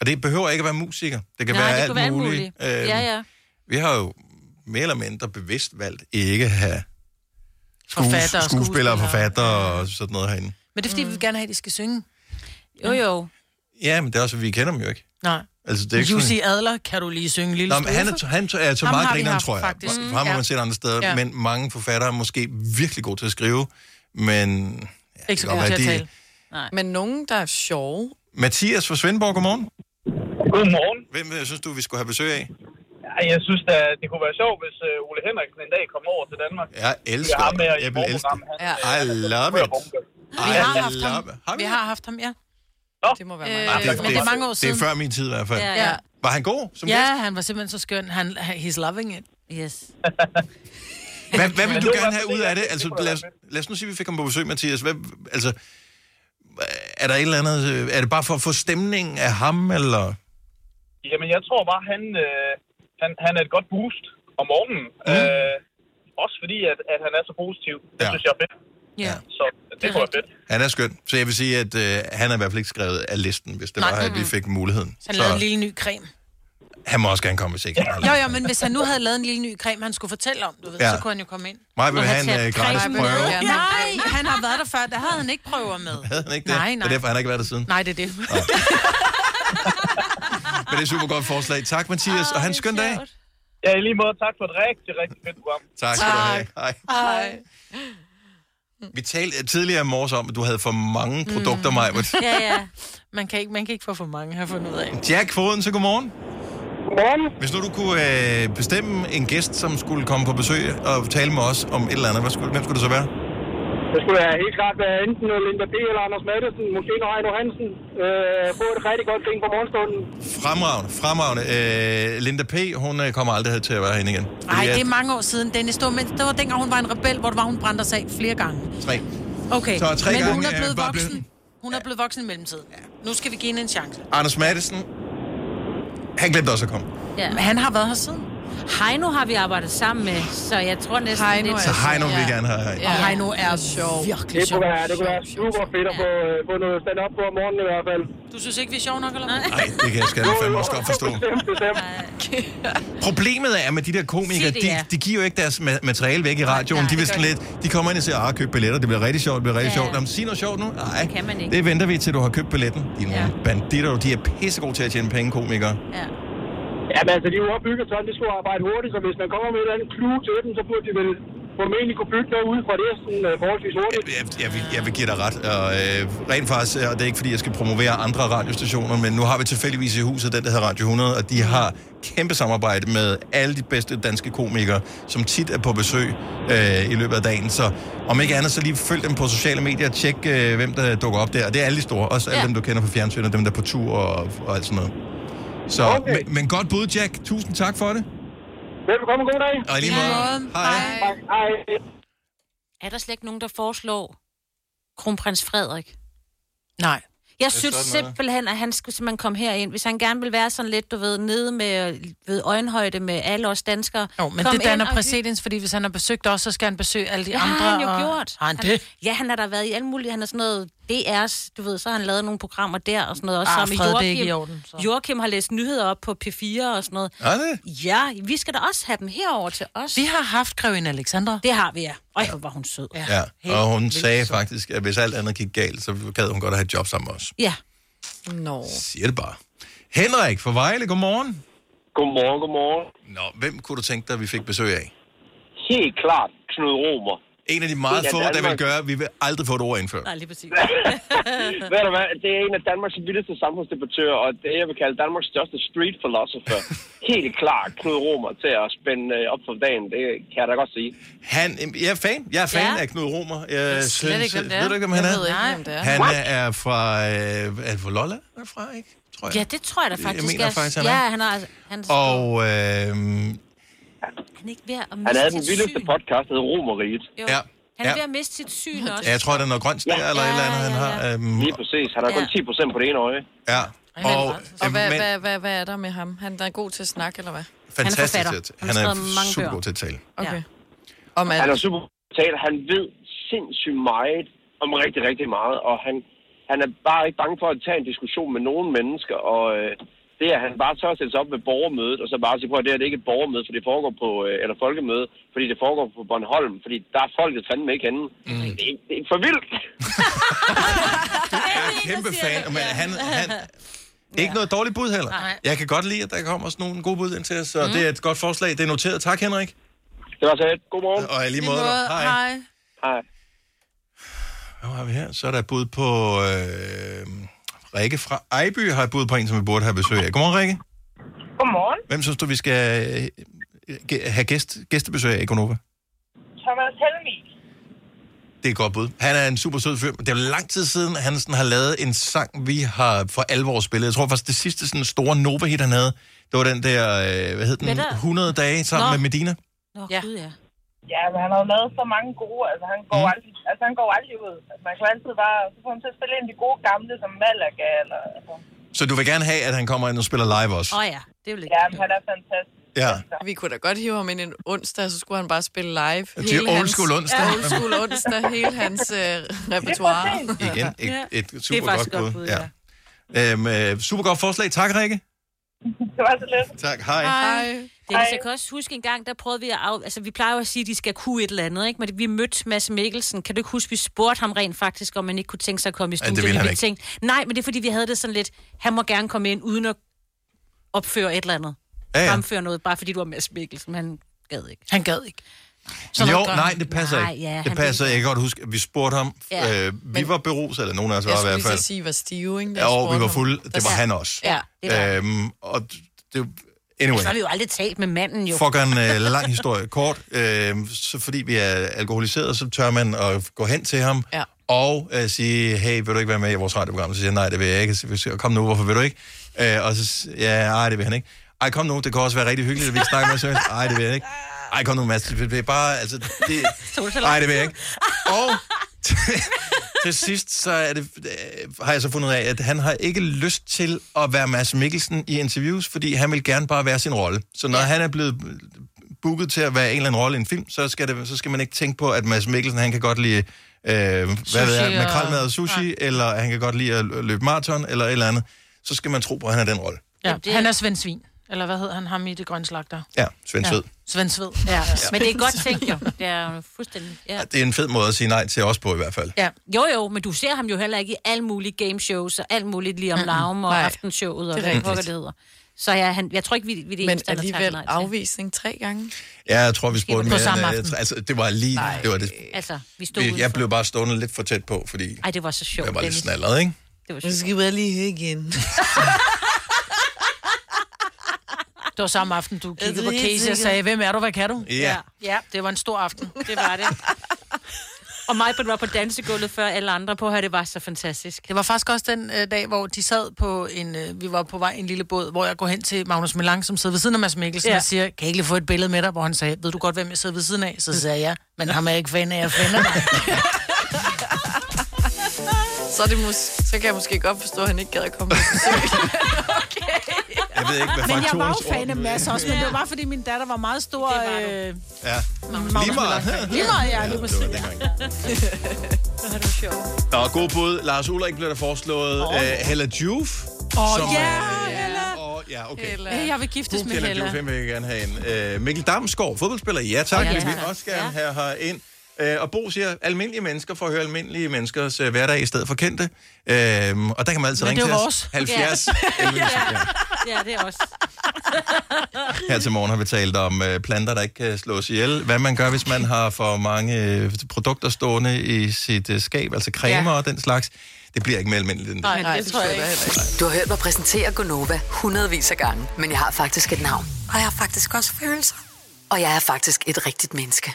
A: Og det behøver ikke at være musiker. Det kan
D: Nej,
A: være
D: det
A: alt
D: kunne være alt
A: muligt. Øh,
D: muligt.
C: Øhm.
D: Ja, ja.
A: Vi har jo mere eller mindre bevidst valgt ikke at have
C: Forfatter
A: skuespillere,
C: og
A: skuespillere, forfatter og sådan noget herinde.
C: Men det er fordi, mm. vi vil gerne have, at de skal synge.
D: Jo, jo.
A: Ja, men det er også, vi kender dem jo ikke.
C: Nej.
A: Altså, det er ikke
C: Jussi
A: sådan-
C: Adler, kan du lige synge en lille
A: Nå, men han,
C: strofe?
A: er, han er så
C: Ham
A: meget
C: har vi
A: grineren,
C: haft,
A: tror jeg.
C: faktisk.
A: Fra ham har man set andre steder,
C: Ja.
A: ja. men mange forfattere er måske virkelig gode til at skrive, men... Ja,
E: Ikke så
A: det kan
E: god
A: godt
E: til at
A: være,
E: tale. Nej. Men nogen, der er sjove.
A: Mathias fra Svendborg, godmorgen.
T: Godmorgen.
A: Hvem øh, synes du, vi skulle have besøg af?
T: Ja, jeg synes da, det kunne være sjovt, hvis øh, Ole Henriksen en dag kom over til Danmark.
A: Jeg elsker
T: ham med i
A: Jeg vil elske
T: morgenprogrammet.
A: det. I love it.
C: Vi har
A: I
C: haft ham.
A: love it.
C: Vi har haft ham, ja.
E: Det må
C: være
A: Ej,
C: øh, Men det er mange år
A: det
C: siden.
A: er før min tid i hvert fald.
C: Ja, ja.
A: Var han god som
C: ja,
A: gæst?
C: han var simpelthen så skøn. Han, han- he's loving it.
D: Yes.
A: Hvad, hvad vil
C: Men
A: du
C: det var
A: gerne have
C: fordi,
A: ud af
C: at
A: det?
C: det
A: Altså,
C: kunne
A: lad, os, lad os nu sige, at vi fik ham på besøg, Mathias. Hvad, altså, er der et eller andet... øh, Er det bare for at få stemningen af ham, eller...
T: Jamen, jeg tror bare, han, øh, han, han er et godt boost om morgenen. Mm. Øh, også fordi, at, at han er så positiv. Det
A: Ja.
T: ja. synes jeg er fedt.
C: Ja.
T: Så det kunne være fedt.
A: Han er skøn. Så jeg vil sige, at øh, han er i hvert fald ikke skrevet af listen, hvis det
C: Nej,
A: var, at vi
C: mm-mm.
A: fik muligheden.
C: Han lavede en
A: Så
C: lille ny creme.
A: han må også gerne komme, hvis ikke han har lyst.
C: Jo, jo, men hvis han nu havde lavet en lille ny creme, han skulle fortælle om, du ved,
A: Ja.
C: ja. så kunne han jo komme ind.
A: Maja vil
C: Og
A: have en,
C: tager
A: øh, gratis
C: Maja vil
A: prøve.
C: gerne. Nej, han har været der før. Der havde han ikke prøver med.
A: Havde han ikke det?
C: Nej,
A: Det
C: nej.
A: er derfor, han har ikke været der siden.
C: Nej, det er det.
A: Men det er et super godt forslag. Tak, Mathias, og hans skøn dag.
T: Ja, i lige måde, tak for et rigtig, rigtig fedt program.
A: Tak skal du have. Hej.
T: Hej.
A: Vi talte tidligere i morges om, at du havde for mange produkter, mm. Majbert.
C: ja, ja. Man kan, ikke, man kan ikke få for mange, har jeg fundet ud af.
A: Jack Foden, så godmorgen. Godmorgen. Hvis nu du kunne øh, bestemme en gæst, som skulle komme på besøg og tale med os om et eller andet, hvad skulle, hvem skulle det så være?
U: Det skulle være helt klart være enten øh, Linda B. eller Anders Maddelsen, måske Heino Hansen. Øh, få et rigtig godt ting på morgenstunden.
A: Fremragende, fremragende. Øh, Linda P., hun øh, kommer aldrig her til at være herinde igen. Fordi
C: Nej,
A: at-
C: det er mange år siden, Dennis. Det var, men det var dengang, hun var en rebel, hvor det var, hun brændte os af flere gange.
A: Tre.
C: Okay,
A: Så tre
C: men
A: gange,
C: hun er
A: øh,
C: blevet
A: var
C: voksen. Hun er blevet voksen i mellemtiden. Nu skal vi give hende en chance.
A: Anders Madsen, han glemte også at komme.
D: Ja.
C: Men han har været her siden.
D: Heino har vi arbejdet sammen med, så jeg tror næsten... Heino
A: Så Heino vil vi gerne have herinde.
D: Ja.
C: Og Heino er sjov.
D: Virkelig
U: Det kunne være, det kunne være super fedt at få, øh, få noget stand-up på om morgenen i hvert fald.
C: Du synes ikke, vi er sjov nok, eller hvad?
A: Nej, det kan jeg skal fandme også godt forstå.
U: Bestemt, bestemt.
A: Problemet er med de der komikere,
U: Sig det, ja.
A: de, de giver jo ikke deres ma- materiale væk i radioen. Nej, de, vil sådan lidt, de kommer ind og siger, at køb billetter, det bliver rigtig sjovt, det bliver rigtig
D: Ja.
A: ja. sjovt. Jamen, sig noget sjovt nu. Nej,
D: kan man ikke.
A: det venter vi til, du har købt billetten. De ja.
D: Ja.
A: banditter, du. de er pissegode til at tjene penge, komikere.
D: Ja.
U: Jamen altså, de er jo opbygget sådan, de skulle arbejde hurtigt, så hvis man kommer med et eller andet clue til dem, så burde de vel formentlig kunne bygge noget ud fra det sådan øh, forholdsvis hurtigt.
A: Jeg vil, jeg vil give dig ret. Og, øh, rent faktisk, øh, og det er ikke fordi, jeg skal promovere andre radiostationer, men nu har vi tilfældigvis i huset den, der hedder Radio 100, og de har kæmpe samarbejde med alle de bedste danske komikere, som tit er på besøg øh, i løbet af dagen. Så om ikke andet, så lige følg dem på sociale medier og tjek, øh, hvem der dukker op der. Og det er alle de store, også alle
U: Ja.
A: dem, du kender fra fjernsynet, dem der er på tur og, og alt sådan noget. Så, okay. men, men godt bud, Jack. Tusind tak for det.
U: Velbekomme, god dag.
A: Og i lige måde.
D: Hej.
U: Hej.
D: Er der slet ikke nogen, der foreslår kronprins Frederik?
C: Nej.
D: Jeg
C: Det er
D: synes
C: sådan noget.
D: simpelthen, at han skulle simpelthen komme herind. Hvis han gerne vil være sådan lidt, du ved, nede med ved øjenhøjde med alle os danskere. Jo,
C: Men det danner præcedens, fordi hvis han har besøgt os, så skal han besøge alle de
D: Det
C: andre.
D: har han jo
C: og...
D: gjort.
C: Har han det?
D: ja, han har da været i alle mulige... Han er sådan noget DR's, du ved, så har han lavet nogle programmer der og sådan noget. Også
C: Ah,
D: sammen med
C: fred, det er
D: Joachim.
C: ikke i orden, så.
D: Joachim har læst nyheder op på P4 og sådan noget.
A: Er det?
D: Ja, vi skal da også have dem herover til os. Vi
C: har haft grevinde Alexandra.
D: Det har vi, ja. Øj, hvor var hun sød.
A: Ja, og hun sagde faktisk, at hvis alt andet gik galt, så gad hun godt at have et job sammen med os.
D: Ja.
E: Nå.
A: Siger det bare. Henrik fra Vejle, godmorgen.
V: Godmorgen, godmorgen.
A: Nå, hvem kunne du tænke dig, vi fik besøg af?
V: Helt klart, Knud Romer.
A: En af de meget
V: En af
A: få, der vil
V: Danmarks-
A: gøre, vi vil aldrig få et ord indført.
D: lige præcis.
V: Ved du hvad, det er en af Danmarks vildeste samfundsdebattører, og det er, jeg vil kalde Danmarks største street philosopher. Helt klart, Knud Romer til at spænde øh, op for dagen, det kan jeg da godt sige.
A: Han, jeg er fan. Jeg er fan
V: Ja.
A: af Knud Romer. Jeg
V: slet ikke, hvem det er.
A: Ved du ikke, hvem han
V: Jeg
A: er?
V: ved ikke, hvem det er.
A: Han
V: What?
A: er fra... Øh, er det fra Lolland? Er det fra, ikke? Tror jeg.
D: Ja, det tror jeg da faktisk.
A: Jeg mener
D: er.
A: faktisk, han er.
D: ja, han er. altså- Han,
A: Og øh,
D: han er ikke ved at
V: Han
D: miste
V: havde den
D: sit
V: vildeste
D: syn.
V: podcast, der hed Romeriet.
D: Jo.
A: Ja.
D: Han er
A: Ja.
D: ved at miste sit syn også.
A: ja, jeg tror, det er noget grønt der, eller et eller andet, han har. Øhm,
V: Lige præcis, han har kun 10 procent på det ene øje.
A: Ja, og, øh,
E: Og hvad,
A: men-
E: hvad, hvad, hvad er der med ham? Han der er god til at snakke, eller hvad?
A: fantastisk. til at- Han er, super god til at tale.
E: Okay. Om alt.
V: Han er super brutal. Han ved sindssygt meget om rigtig, rigtig meget, og han han er bare ikke bange for at tage en diskussion med nogen mennesker, og øh, det er, at han bare tør at sætte sig op ved borgermødet, og så bare sige, prøv at det her det er ikke et borgermøde, for det foregår på, øh, eller folkemøde, fordi det foregår på Bornholm, fordi der er folket fandme ikke henne. Mm. Det, er, det er for vildt!
A: Jeg er kæmpe fan, men han, han, ikke noget dårligt bud heller.
V: Nej.
A: Jeg kan godt lide, at der kommer sådan nogle gode bud ind til os, så mm. det er et godt forslag. Det er noteret. Tak, Henrik.
V: Det var så lidt. Godmorgen.
A: Og i lige måde. Hej. Hej.
V: Hej.
A: Hvad har vi her? Så er der et bud på... Øh, Rikke fra Ejby har et bud på en, som vi burde have besøg af. Godmorgen, Rikke.
I: Godmorgen.
A: Hvem synes du, vi skal øh, ge- have gæst, gæstebesøg af i Gonova?
I: Thomas Helmi.
A: Det er et godt bud. Han er en super sød fyr. Det er jo lang tid siden, han sådan har lavet en sang, vi har for alvor spillet. Jeg tror faktisk, det sidste sådan store Nova-hit, han havde, det var den der, øh, hvad hed den,
I: Better.
A: 100 dage sammen
I: Nå.
A: Nå. med Medina.
I: Nå, ja. Gud, ja. Ja, men han har jo lavet så mange gode, altså han går, mm. aldrig, altså, han går aldrig ud. Altså, man kan jo altid bare, så får han til at spille ind i de gode gamle, som Malaga, eller... Altså.
A: Så du vil gerne have, at han kommer ind og spiller live også?
I: ja, det er jo lidt... Ja, men han er fantastisk.
A: Ja.
E: Vi kunne da godt hive ham ind en onsdag, så skulle han bare spille live.
A: Det er old school
E: hans,
A: onsdag.
E: Ja, old school onsdag, hele hans øh, repertoire.
A: Igen, et, et, et super
E: faktisk
A: godt,
E: et godt
A: bud. Ja. Øhm, øh, super godt forslag. Tak, Rikke.
I: Det var så lidt.
A: Tak, hej.
D: Det, altså, jeg kan også huske en gang, der prøvede vi at... Af, altså, vi plejer jo at sige, at de skal kunne et eller andet, ikke? Men vi mødte Mads Mikkelsen. Kan du ikke huske, vi spurgte ham rent faktisk, om man ikke kunne tænke sig at komme i
A: Ja, det
D: studiet?
A: ville han
D: Vi
A: ikke.
D: Tænkte, nej, men det er fordi, vi havde det sådan lidt... Han må gerne komme ind, uden at opføre et eller andet.
A: Ja, ja.
D: Fremføre noget, bare fordi du var Mads Mikkelsen. Han gad ikke.
C: Han gad ikke.
D: Så
A: jo,
D: hvad gør
A: nej,
D: han?
A: det passer
D: Nej,
A: ikke.
D: ja,
A: det
D: han
A: passer
D: ved-
A: ikke. Jeg kan godt huske, at vi spurgte ham.
E: Ja.
A: Ja. Øh, vi var beruset, eller nogen af os
E: Jeg
A: var i
E: skulle
A: hvert
E: lige så
A: fald.
E: sige, at var stive, ikke? da jeg
A: Ja, og
E: spurgte
A: vi var
E: ham.
A: fulde. Det var
E: Ja.
A: han også.
E: Ja.
A: Øhm, og det, anyway,
D: Så har vi jo aldrig talt med manden, jo.
A: for at gøre en øh, lang historie kort, øh, så fordi vi er alkoholiseret, så tør man at gå hen til ham
E: Ja.
A: og øh, sige, hey, vil du ikke være med i vores radioprogram? Så siger han, nej, det vil jeg ikke. Så siger, jeg, kom nu, hvorfor vil du ikke? Øh, og så siger ja, nej, det vil han ikke. Ej, kom nu, det kan også være rigtig hyggeligt, at vi snakker med os. Ej, det vil jeg ikke. Ej, kom nu, Mads. Det det er bare, altså, det...
D: Solsalat.
A: Nej, det vil jeg ikke. Og til sidst, så er det, øh, har jeg så fundet ud af, at han har ikke lyst til at være Mads Mikkelsen i interviews, fordi han vil gerne bare være sin rolle. Så når ja. han er blevet booket til at være en eller anden rolle i en film, så skal, det, så skal man ikke tænke på, at Mads Mikkelsen, han kan godt lide øh, hvad ved jeg,
J: og-
A: makrelmad og sushi, ja. eller han kan godt lide at lø- løbe maraton, eller et eller andet. Så skal man tro på, at han er den rolle.
C: Ja, han er Svend Svin. Eller hvad hed han ham i det grønne slagter?
A: Ja, Svend Sød.
C: Svend Sved. Ja.
D: Men det er godt tænkt, jo. Det er jo fuldstændig... Ja.
A: Det er en fed måde at sige nej til os på i hvert fald.
D: Ja. Jo, jo, men du ser ham jo heller ikke i alle mulige gameshows og alt muligt lige om larm og
E: Nej.
D: aftenshowet og
E: Det er
D: hvad
E: rigtigt.
D: pokker det hedder. Så ja, han, jeg tror ikke, vi, vi er det
E: Men
D: eneste, han har takket
E: alligevel
D: nej til.
E: afvisning tre gange.
A: Ja, jeg tror, vi
D: Måske
A: spurgte
D: på
A: mere
D: samme
A: end, øh,
D: aften.
A: Altså, det var lige...
D: Nej.
A: Det var
C: øh,
A: det.
D: Altså, vi stod
A: Vi,
D: udenfor.
A: jeg blev bare stående lidt for tæt på, fordi
D: Ej, det var så sjovt.
A: jeg var lidt
D: Dennis.
A: snallet, ikke?
D: Det var
E: Nu skal vi lige her igen.
C: Det var samme aften, du kiggede
E: det
C: på
E: helt
C: Casey og
E: sikkert?
C: sagde, hvem er du, hvad kan du?
A: Ja.
C: Ja, det var en stor aften.
D: Det var det. og mig var på dansegulvet før alle andre på her, det var så fantastisk.
C: Det var faktisk også den øh, dag, hvor de sad på en... Øh, vi var på vej i en lille båd, hvor jeg går hen til Magnus Melang, som sidder ved siden af Mads Mikkelsen,
D: Ja.
C: ja. og siger, kan jeg ikke lige få et billede med dig? Hvor han sagde, ved du godt, hvem jeg sidder ved siden af? Så sagde jeg, men ham er jeg ikke fan af, jeg finder dig.
E: Så, er det mås- så kan jeg måske godt forstå, at han ikke gad at komme på
A: Jeg ved ikke, hvad
C: men jeg var
A: faktorens
C: jo fan af
A: orden-
C: Mads også, men det var bare, fordi min datter var meget stor... Øh,
A: Ja.
C: Magnus
A: Lige meget.
C: Melang-fan. Lige meget, ja, lige præcis.
D: Det var det sjovt.
A: Nå, god bud. Lars Ulrik blev der foreslået. Oh. Hella Juf.
C: Åh,
A: som,
C: ja,
A: øh,
C: Hella.
A: Åh, ja, okay.
C: Øh, Jeg vil giftes
A: Puh,
C: med
A: Hella
C: Hella.
A: Juf, hende vil jeg gerne have ind. Øh, Mikkel Damsgaard, fodboldspiller. Ja, tak.
C: Ja,
A: Ja, vi vil
C: tak.
A: også gerne have her ind. Øh, og Bo siger, almindelige mennesker får at høre almindelige menneskers øh, hverdag i stedet for kendte. Øh, og der kan man altid
C: Men det
A: ringe
C: er
A: til
C: jo
A: os.
C: vores.
A: 70
C: Ja.
A: 11
D: Ja. Ja, det er også.
A: Her til morgen har vi talt om øh, planter, der ikke kan slås ihjel. Hvad man gør, hvis man har for mange øh, produkter stående i sit øh, skab, altså cremer ja. og den slags. Det bliver ikke mere almindeligt end det.
F: Nej, nej, det tror jeg ikke. Du har hørt mig præsentere Gonova hundredvis af gange, men jeg har faktisk et navn.
W: Og jeg har faktisk også følelser.
F: Og jeg er faktisk et rigtigt menneske.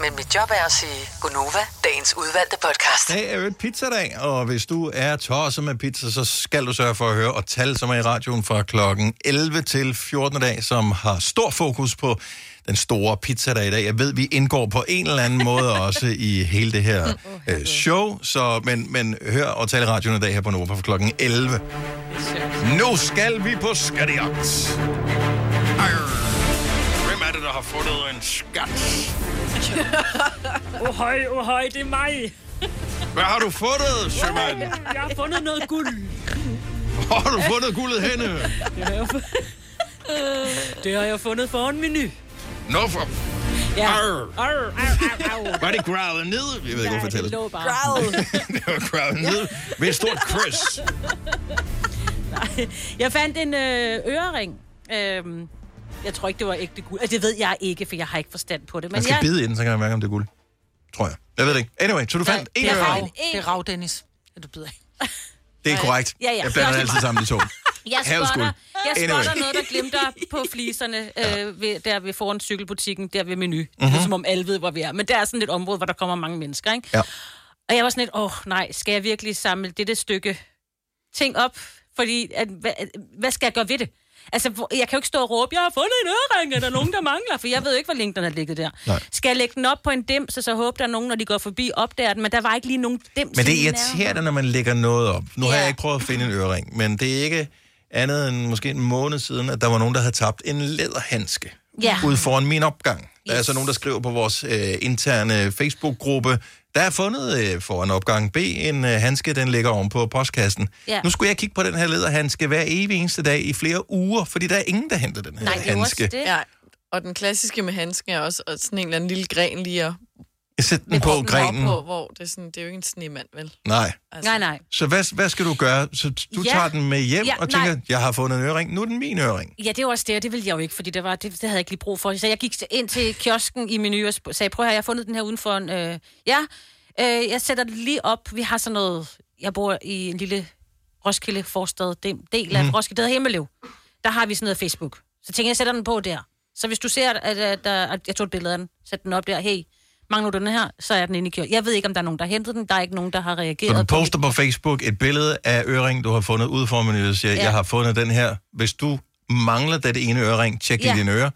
F: Men mit job er at sige Gonova, dagens udvalgte podcast.
A: Dag er jo et pizzadag, og hvis du er tosset med pizza, så skal du sørge for at høre og tal, som er i radioen fra klokken 11 til 14 dag, som har stor fokus på den store pizzadag i dag. Jeg ved, vi indgår på en eller anden måde også i hele det her øh, show, så, men, men hør og tal i radioen i dag her på Nova fra klokken 11. Nu skal vi på skattejagt. Hvem er det, der har fundet en skat?
X: oh, hej, oh, hej, det er mig.
A: Hvad har du fundet, sømand?
G: Jeg har fundet noget guld.
A: Hvor har du fundet guldet henne?
G: Det har jeg, fu- det har jeg fundet foran menu.
A: Nå, for...
G: Ja.
A: Arr.
G: Arr, arr, arr, arr.
A: Var det growlet ned? Jeg ved ikke, hvorfor jeg taler.
G: det lå bare.
A: det var growlet ned med et stort kryds.
D: Nej, jeg fandt en øh, ørering. Øhm, jeg tror ikke, det var ægte guld. Altså, det ved jeg ikke, for jeg har ikke forstand på det.
A: Man skal
D: jeg...
A: bide inden, så kan man mærke, om det er guld. Tror jeg. Jeg ved det ikke. Anyway, så du fandt en
C: det er
A: øre.
C: rav. Det er rav, Dennis. Ja, Du bider ikke.
A: Det er korrekt.
D: Ja, ja.
A: Jeg blander
D: Jeg-
A: altid sammen de to.
D: Jeg
A: Havets
D: spotter,
A: guld.
D: jeg spotter
A: Anyway.
D: noget, der glimter på fliserne, øh, ved, der ved foran cykelbutikken, der ved menu.
A: Mhm.
D: Mm-hmm. Det er som om alle ved, hvor vi er. Men der er sådan et område, hvor der kommer mange mennesker, ikke?
A: Ja.
D: Og jeg var sådan lidt, åh oh, nej, skal jeg virkelig samle dette stykke ting op? Fordi, at, hvad, hvad skal jeg gøre ved det? Altså, hvor- jeg kan jo ikke stå og råbe, jeg har fundet en ørering, er der nogen, der mangler? For jeg ved jo ikke, hvor længe den har ligget der.
A: Nej.
D: Skal jeg lægge den op på en dims, og så håbe, der er nogen, når de går forbi, opdager den? Men der var ikke lige nogen dims.
A: Men det
D: lige i nærheden.
A: irriterer dig, når man lægger noget op. Nu har jeg ikke prøvet at finde en ørering, men det er ikke andet end måske en måned siden, at der var nogen, der havde tabt en læderhandske
J: Ja.
A: ude foran min opgang. Der er så nogen, der skriver på vores øh, interne Facebook-gruppe, der er fundet øh, foran opgang B en øh, handske, den ligger oven på postkassen.
J: Ja.
A: Nu skulle jeg kigge på den her læderhandske hver evig eneste dag i flere uger, fordi der er ingen, der henter den her handske.
E: Ja. Og den klassiske med handsken er også at sådan en eller anden lille gren lige at
A: Jeg sætter den på
E: proppen
A: grenen.
E: Op på, hvor det er, sådan, det er jo ikke en snemand, vel?
A: Nej.
E: Altså.
D: Nej, nej.
A: Så hvad, hvad skal du gøre? Så du
D: Ja.
A: tager den med hjem
D: Ja,
A: og tænker,
D: nej.
A: jeg har fundet en ørering, nu er den min ørering.
D: Ja, det var også det, og det ville jeg jo ikke, fordi det, var, det, det havde jeg ikke lige brug for. Så jeg gik ind til kiosken i menu og sp- sagde, prøv her, jeg har fundet den her udenfor. En, øh, ja, øh, jeg sætter den lige op. Vi har sådan noget, jeg bor i en lille Roskilde forstad, det er en del af
K: Mhm.
D: mm. Roskilde, der hedder Himmeløv. Der har vi sådan noget Facebook. Så tænker jeg, jeg sætter den på der. Så hvis du ser, at, at, at, at jeg tog et billede af den, sæt den op der, hey, mangler du den her, så er den inde i kiosken. Jeg ved ikke, om der er nogen, der har hentet den. Der er ikke nogen, der har reageret.
A: Så du
D: på mit-
A: poster på Facebook et billede af øring, du har fundet ud for menuet, og siger,
D: Ja.
A: jeg har fundet den her. Hvis du mangler dette ene øring, tjek lige
D: Ja.
A: dine ører,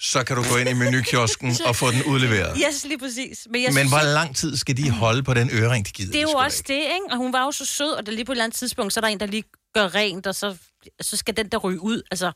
A: så kan du gå ind i menukiosken og få den udleveret.
D: Yes, lige præcis. Men, jeg
A: Men
D: synes,
A: hvor lang tid skal de holde på den øring, de gider?
D: det er jo også det, ikke? Og hun var jo så sød, og der lige på et eller andet tidspunkt, så er der en, der lige gør rent, og så, så skal den der ryge ud. Altså,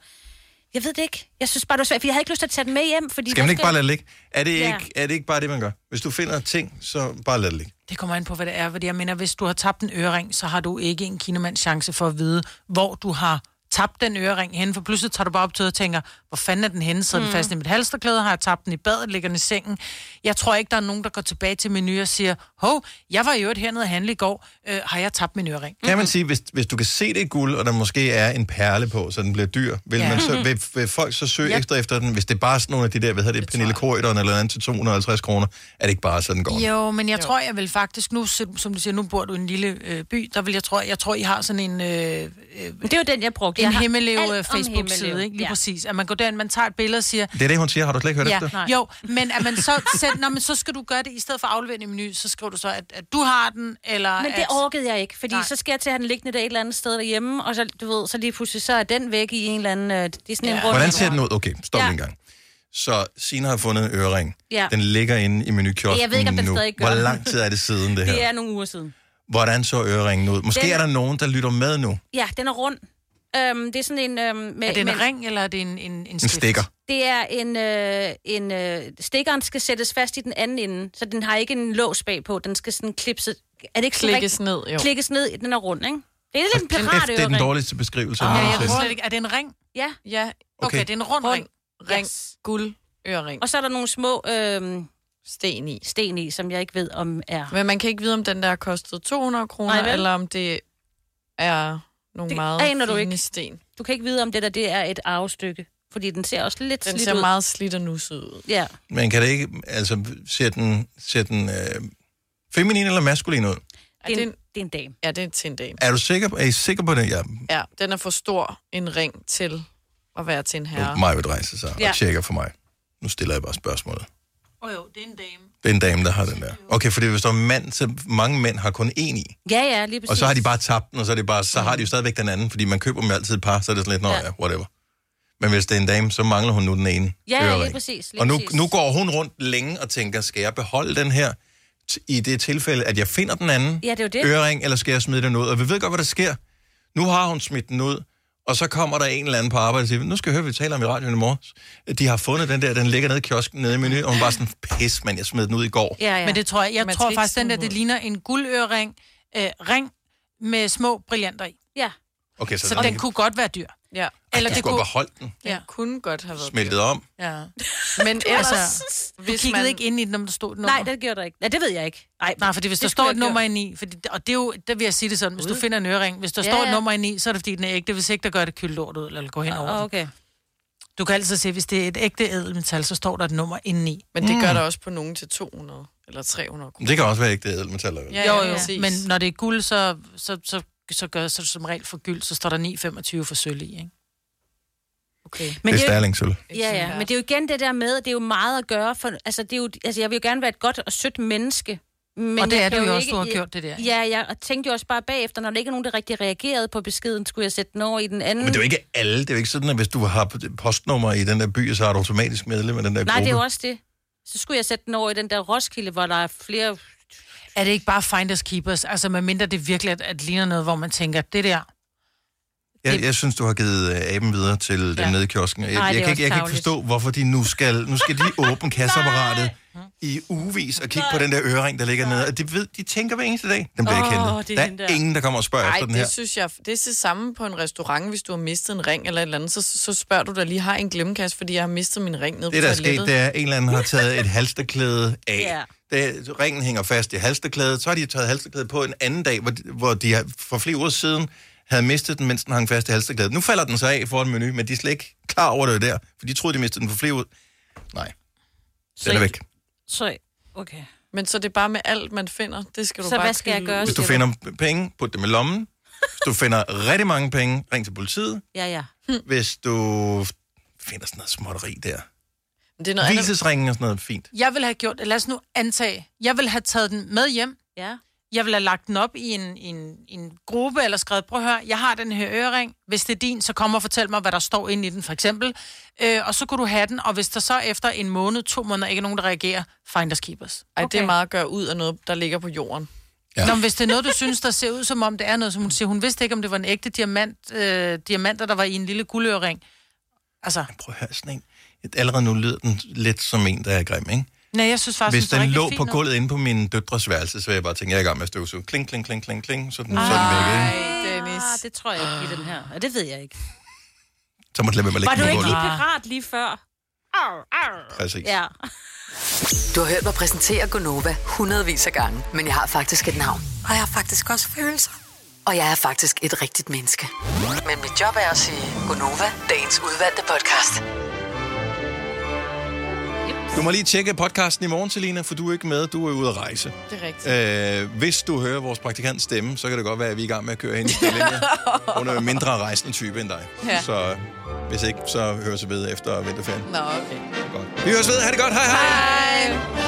D: jeg ved det ikke. Jeg synes bare, det var svært, for jeg havde ikke lyst til at tage den med hjem. Fordi
A: Skal man
D: der
A: ikke bare lade det ligge? Er det,
D: Ja.
A: ikke, er det ikke bare det, man gør? Hvis du finder ting, så bare lad det ligge.
C: Det kommer an på, hvad det er, fordi jeg mener, hvis du har tabt en ørering, så har du ikke en kinamands chance for at vide, hvor du har tabt den ørering henne, for pludselig tager du bare op til og tænker, hvor fanden er den henne? Sidder mm. den
D: Mm.
C: fast i mit halsterklæde? Har jeg tabt den i badet? Ligger den i sengen? Jeg tror ikke, der er nogen, der går tilbage til menu og siger, hov, jeg var i øvrigt hernede og handle i går. Øh, har jeg tabt min ørering?
A: Kan man sige, hvis, hvis du kan se det er guld, og der måske er en perle på, så den bliver dyr, vil,
C: Ja.
A: man så,
C: Mhm.
A: vil, vil folk så søge
C: Ja.
A: ekstra efter den? Hvis det er bare sådan nogle af de der, hvad hedder det, Pernille Corydon eller andet til 250 kroner, er det ikke bare sådan går?
C: Jo, men jeg jo. tror, jeg vil faktisk nu, som som du siger, nu bor du i en lille øh, by, der vil jeg tror, jeg tror, I har sådan en... Øh, øh,
D: det er jo den, jeg brugte.
C: En
D: Jeg har
C: himmelev
D: alt om Himmelev.
C: Facebook-side, ikke? Lige
D: Ja.
C: ja. præcis. At man går derind, man tager et billede og siger,
A: Det er det, hun siger. Har du slet ikke hørt
C: ja,
A: efter?
C: Jo, men at man så, sæt, nå, men så skal du gøre det, i stedet for at aflevere den i menu, så skriver du så, at, at du har den, eller
D: Men det
C: at,
D: orkede jeg ikke, fordi Nej. så skal jeg til at have den liggende der et eller andet sted derhjemme, og så, du ved, så lige pludselig så er den væk i en eller anden... Øh, det er sådan ja. en rundt...
A: Hvordan ser den ud? Okay, stop
D: Ja.
A: ja. en gang. Så Sina har fundet en ørering.
D: Ja.
A: Den ligger inde i menukiosken
D: Jeg ved ikke, om den
A: nu.
D: stadig gør
A: Hvor
D: det.
A: lang tid er det siden, det her?
D: Det er nogle uger siden.
A: Hvordan så øreringen ud? Måske
D: Den-
A: er der nogen, der lytter med nu.
D: Ja, den er rund. Øhm, det er sådan en... Øhm, med,
C: er det en
D: med,
C: ring, eller er det en, en, en,
A: En stikker.
D: Det er en... Øh, en øh, stikkeren skal sættes fast i den anden ende, så den har ikke en lås bagpå. Den skal sådan klipse... Er det ikke sådan
E: Klikkes
D: rigtigt?
E: ned, jo.
D: Klikkes ned, den er rund, ikke? Det er lidt en
A: Kæft, det er den
D: piratøring.
A: dårligste beskrivelse.
C: Ja, jeg
A: nogensinde.
C: tror slet ikke, er det en ring?
D: Ja.
E: Ja,
A: Ah, Okay.
C: det er en rund, ring.
E: Ring, yes. guld, ørering.
D: Og så er der nogle små... Øh,
E: sten i.
D: Sten i, som jeg ikke ved, om er...
E: Men man kan ikke vide, om den der har kostet 200 kroner,
D: Nej, vel?
E: eller om det er nogle det meget
D: aner
E: fine
D: du ikke.
E: sten.
D: Du kan ikke vide, om det der det er et arvestykke, fordi den ser også lidt
E: Den
D: slidt
E: ser
D: ud.
E: meget slidt og nusset ud.
D: Ja.
A: Men kan det ikke... Altså, ser den, ser den øh, feminin eller maskulin ud?
E: Det er en,
D: det er en dame.
E: Ja, det er til en dame.
A: Er du sikker på, er I sikker på det? Ja,
E: Ja, den er for stor en ring til at være til en herre.
A: mig vil rejse sig
E: Ja.
A: og tjekker for mig. Nu stiller jeg bare spørgsmålet.
C: Åh oh, jo, det er en dame.
A: Det er en dame, der har den der. Okay, fordi hvis der er mand, så mange mænd har kun én i.
D: Ja, ja, lige præcis. Mm.
A: Og så har de bare tabt den, og så, er det bare, så har de jo stadigvæk den anden, fordi man køber dem altid et par, så er det sådan lidt, nå
D: Ja.
A: ja, whatever. Men hvis det er en dame, så mangler hun nu den ene
D: Ja, ja, lige
A: ørering.
D: præcis, lige
A: og nu,
D: præcis.
A: nu går hun rundt længe og tænker, skal jeg beholde den her t- i det tilfælde, at jeg finder den anden
D: Ja, det er jo det.
A: ørering, eller skal jeg smide den ud? Og vi ved godt, hvad der sker. Nu har hun smidt den ud, Og så kommer der en eller anden på arbejde og siger, nu skal jeg høre, vi taler om i radioen i morgen. De har fundet den der, den ligger nede i kiosken nede i menu, og hun var sådan, pis, men jeg smed den ud i går.
C: Ja, ja. Men det tror jeg, jeg
D: Man skal
C: tror
D: ikke
C: faktisk, den der,
D: smide
C: det ligner en guldørering, øh, ring med små brillanter i.
D: Ja.
A: Okay, så,
C: Så den kunne godt være dyr.
E: Ja.
A: Eller de skulle kunne... have beholdt den,
E: Ja. kunne godt have været
A: smeltet om.
E: Ja. Men ellers...
C: Altså, du
E: hvis
C: kiggede
E: man-
C: ikke ind i den, om der stod et nummer?
D: Nej, det gjorde der ikke. Nej, det ved jeg ikke.
C: Nej, nej fordi hvis
D: det
C: der
D: skulle
C: står
D: jeg
C: et
D: ikke
C: nummer
D: gøre.
C: inde i, fordi, det- og det er jo, der vil jeg sige det sådan, hvis du finder en ørering, hvis der
D: Ja,
C: står et
D: ja.
C: nummer inde i, så er det fordi, den er ægte, hvis ikke der gør det kyldt lort ud, eller går hen over den.
D: Ah, okay.
C: Du kan altid se, hvis det er et ægte ædelmetal, så står der et nummer inde i.
E: Men det gør der også på nogen til 200 eller 300 kroner.
A: Men Det kan også være ægte ædelmetaller.
C: Ja, jo, jo, ja. men når det er guld, så, så, så, så gør så som regel for gyld, så står der 9,25 for sølv i, ikke?
D: Okay.
A: Det er
D: jo-
A: sterlingsølv.
D: Ja, ja, men det er jo igen det der med, at det er jo meget at gøre. For, altså, det er jo, altså, jeg vil jo gerne være et godt og sødt menneske. Men
C: Og det
D: jeg
C: er
D: kan
C: du jo også, du har
D: jeg-
C: gjort det der, ikke?
D: Ja, ja, og tænkte jo også bare bagefter, når der ikke er nogen, der rigtig reagerede på beskeden, skulle jeg sætte den over i den anden.
A: Men det er jo ikke alle. Det er jo ikke sådan, at hvis du har postnummer i den der by, så er du automatisk medlem af den der
D: Nej,
A: gruppe.
D: det er jo også det. Så skulle jeg sætte den over i den der Roskilde, hvor der er flere...
C: Er det ikke bare finders keepers? Altså, medmindre det virkelig at, at ligner noget, hvor man tænker, det der...
A: Jeg, jeg synes, du har givet øh, aben videre til ja.
C: Ja.
A: den nede i kiosken. Jeg,
C: Ej, det er
A: jeg,
C: også
A: kan, ikke, jeg kan ikke
C: tarveligt.
A: forstå, hvorfor de nu skal... Nu skal de åbne kasseapparatet i uvis og kigge på den der ørering, der ligger nede. Og de, ved, de tænker hver eneste dag, den bliver
E: Åh,
A: ikke hentet.
E: det er
A: Der
E: hende
A: er
E: der.
A: ingen, der kommer og spørger
E: Ej,
A: efter den
E: det
A: her.
E: synes jeg, det er det samme på en restaurant, hvis du har mistet en ring eller et eller andet, så, så spørger du dig lige, har jeg en glemmekasse, fordi jeg har mistet min ring nede
A: Det,
E: på
A: der er
E: toilettet.
A: sket, det er, at en eller anden har taget et halsterklæde af.
E: Ja.
A: Det, ringen hænger fast i halsterklædet. Så har de taget halsterklædet på en anden dag, hvor de, hvor de har, for flere uger siden havde mistet den, mens den hang fast i halsterklædet. Nu falder den så af foran menu, men de er slet ikke klar over det der, for de troede, de mistede den for flere uger. Nej, den er væk.
D: Så, okay.
E: Men så det er bare med alt, man finder. Det skal du
D: Så
E: bare
D: hvad skal jeg
E: pille
D: gøre,
E: ud.
A: Hvis du finder penge, put dem i lommen. Hvis du finder rigtig mange penge, ring til politiet.
D: Ja, ja.
A: Hvis du finder sådan noget småtteri der.
E: Det er
A: Visesringen og sådan noget, fint.
C: Jeg vil have gjort, lad os nu antage, jeg vil have taget den med hjem.
D: Ja.
C: Jeg vil have lagt den op i en, i en, i en gruppe eller skrevet, prøv at høre, jeg har den her ørering. Hvis det er din, så kom og fortæl mig, hvad der står inde i den, for eksempel. Øh, og så kunne du have den, og hvis der så efter en måned, to måneder, ikke er nogen, der reagerer, finders keepers.
E: Ej, det er meget at gøre ud af noget, der ligger på jorden.
C: Ja. Nå, men hvis det er noget, du synes, der ser ud som om, det er noget, som hun siger. Hun vidste ikke, om det var en ægte diamant, øh, diamanter, der var i en lille guldøring. Altså,
A: Prøv at høre sådan en. Allerede nu lyder den lidt som en, der er grim, ikke?
C: nej, jeg synes faktisk,
A: Hvis den
C: rigtig
A: lå
C: fin
A: på
C: ud.
A: gulvet inde på min døtres værelse, så ville jeg bare tænke, jeg er i gang med at støvsuge. Kling, kling, kling, kling, kling. Så er den, så er den væk, ikke?
D: Dennis. Ah, det tror jeg ikke i den her. Og det ved jeg ikke.
A: Så må det lade være med at
D: Var du
A: lægge den på
D: ikke
A: gulvet.
D: lige
C: Ah.
D: pirat lige før? Arr, arr.
A: Præcis.
D: Ja.
F: Du har hørt mig præsentere Gonova hundredvis af gange, men jeg har faktisk et navn.
W: Og jeg har faktisk også følelser.
F: Og jeg er faktisk et rigtigt menneske. Men mit job er at sige Gonova, dagens udvalgte podcast.
A: Du må lige tjekke podcasten i morgen, Selina, for du er ikke med. Du er ude at rejse.
E: Det er rigtigt.
A: Øh, hvis du hører vores praktikant stemme, så kan det godt være, at vi er i gang med at køre hende i stillingen. Hun er jo en mindre rejsende type end dig.
E: Ja.
A: Så hvis ikke, så høres vi ved efter vinterferien.
E: Nå, okay.
A: Vi høres ved. Ha' det godt. Hej hej.
E: Hej.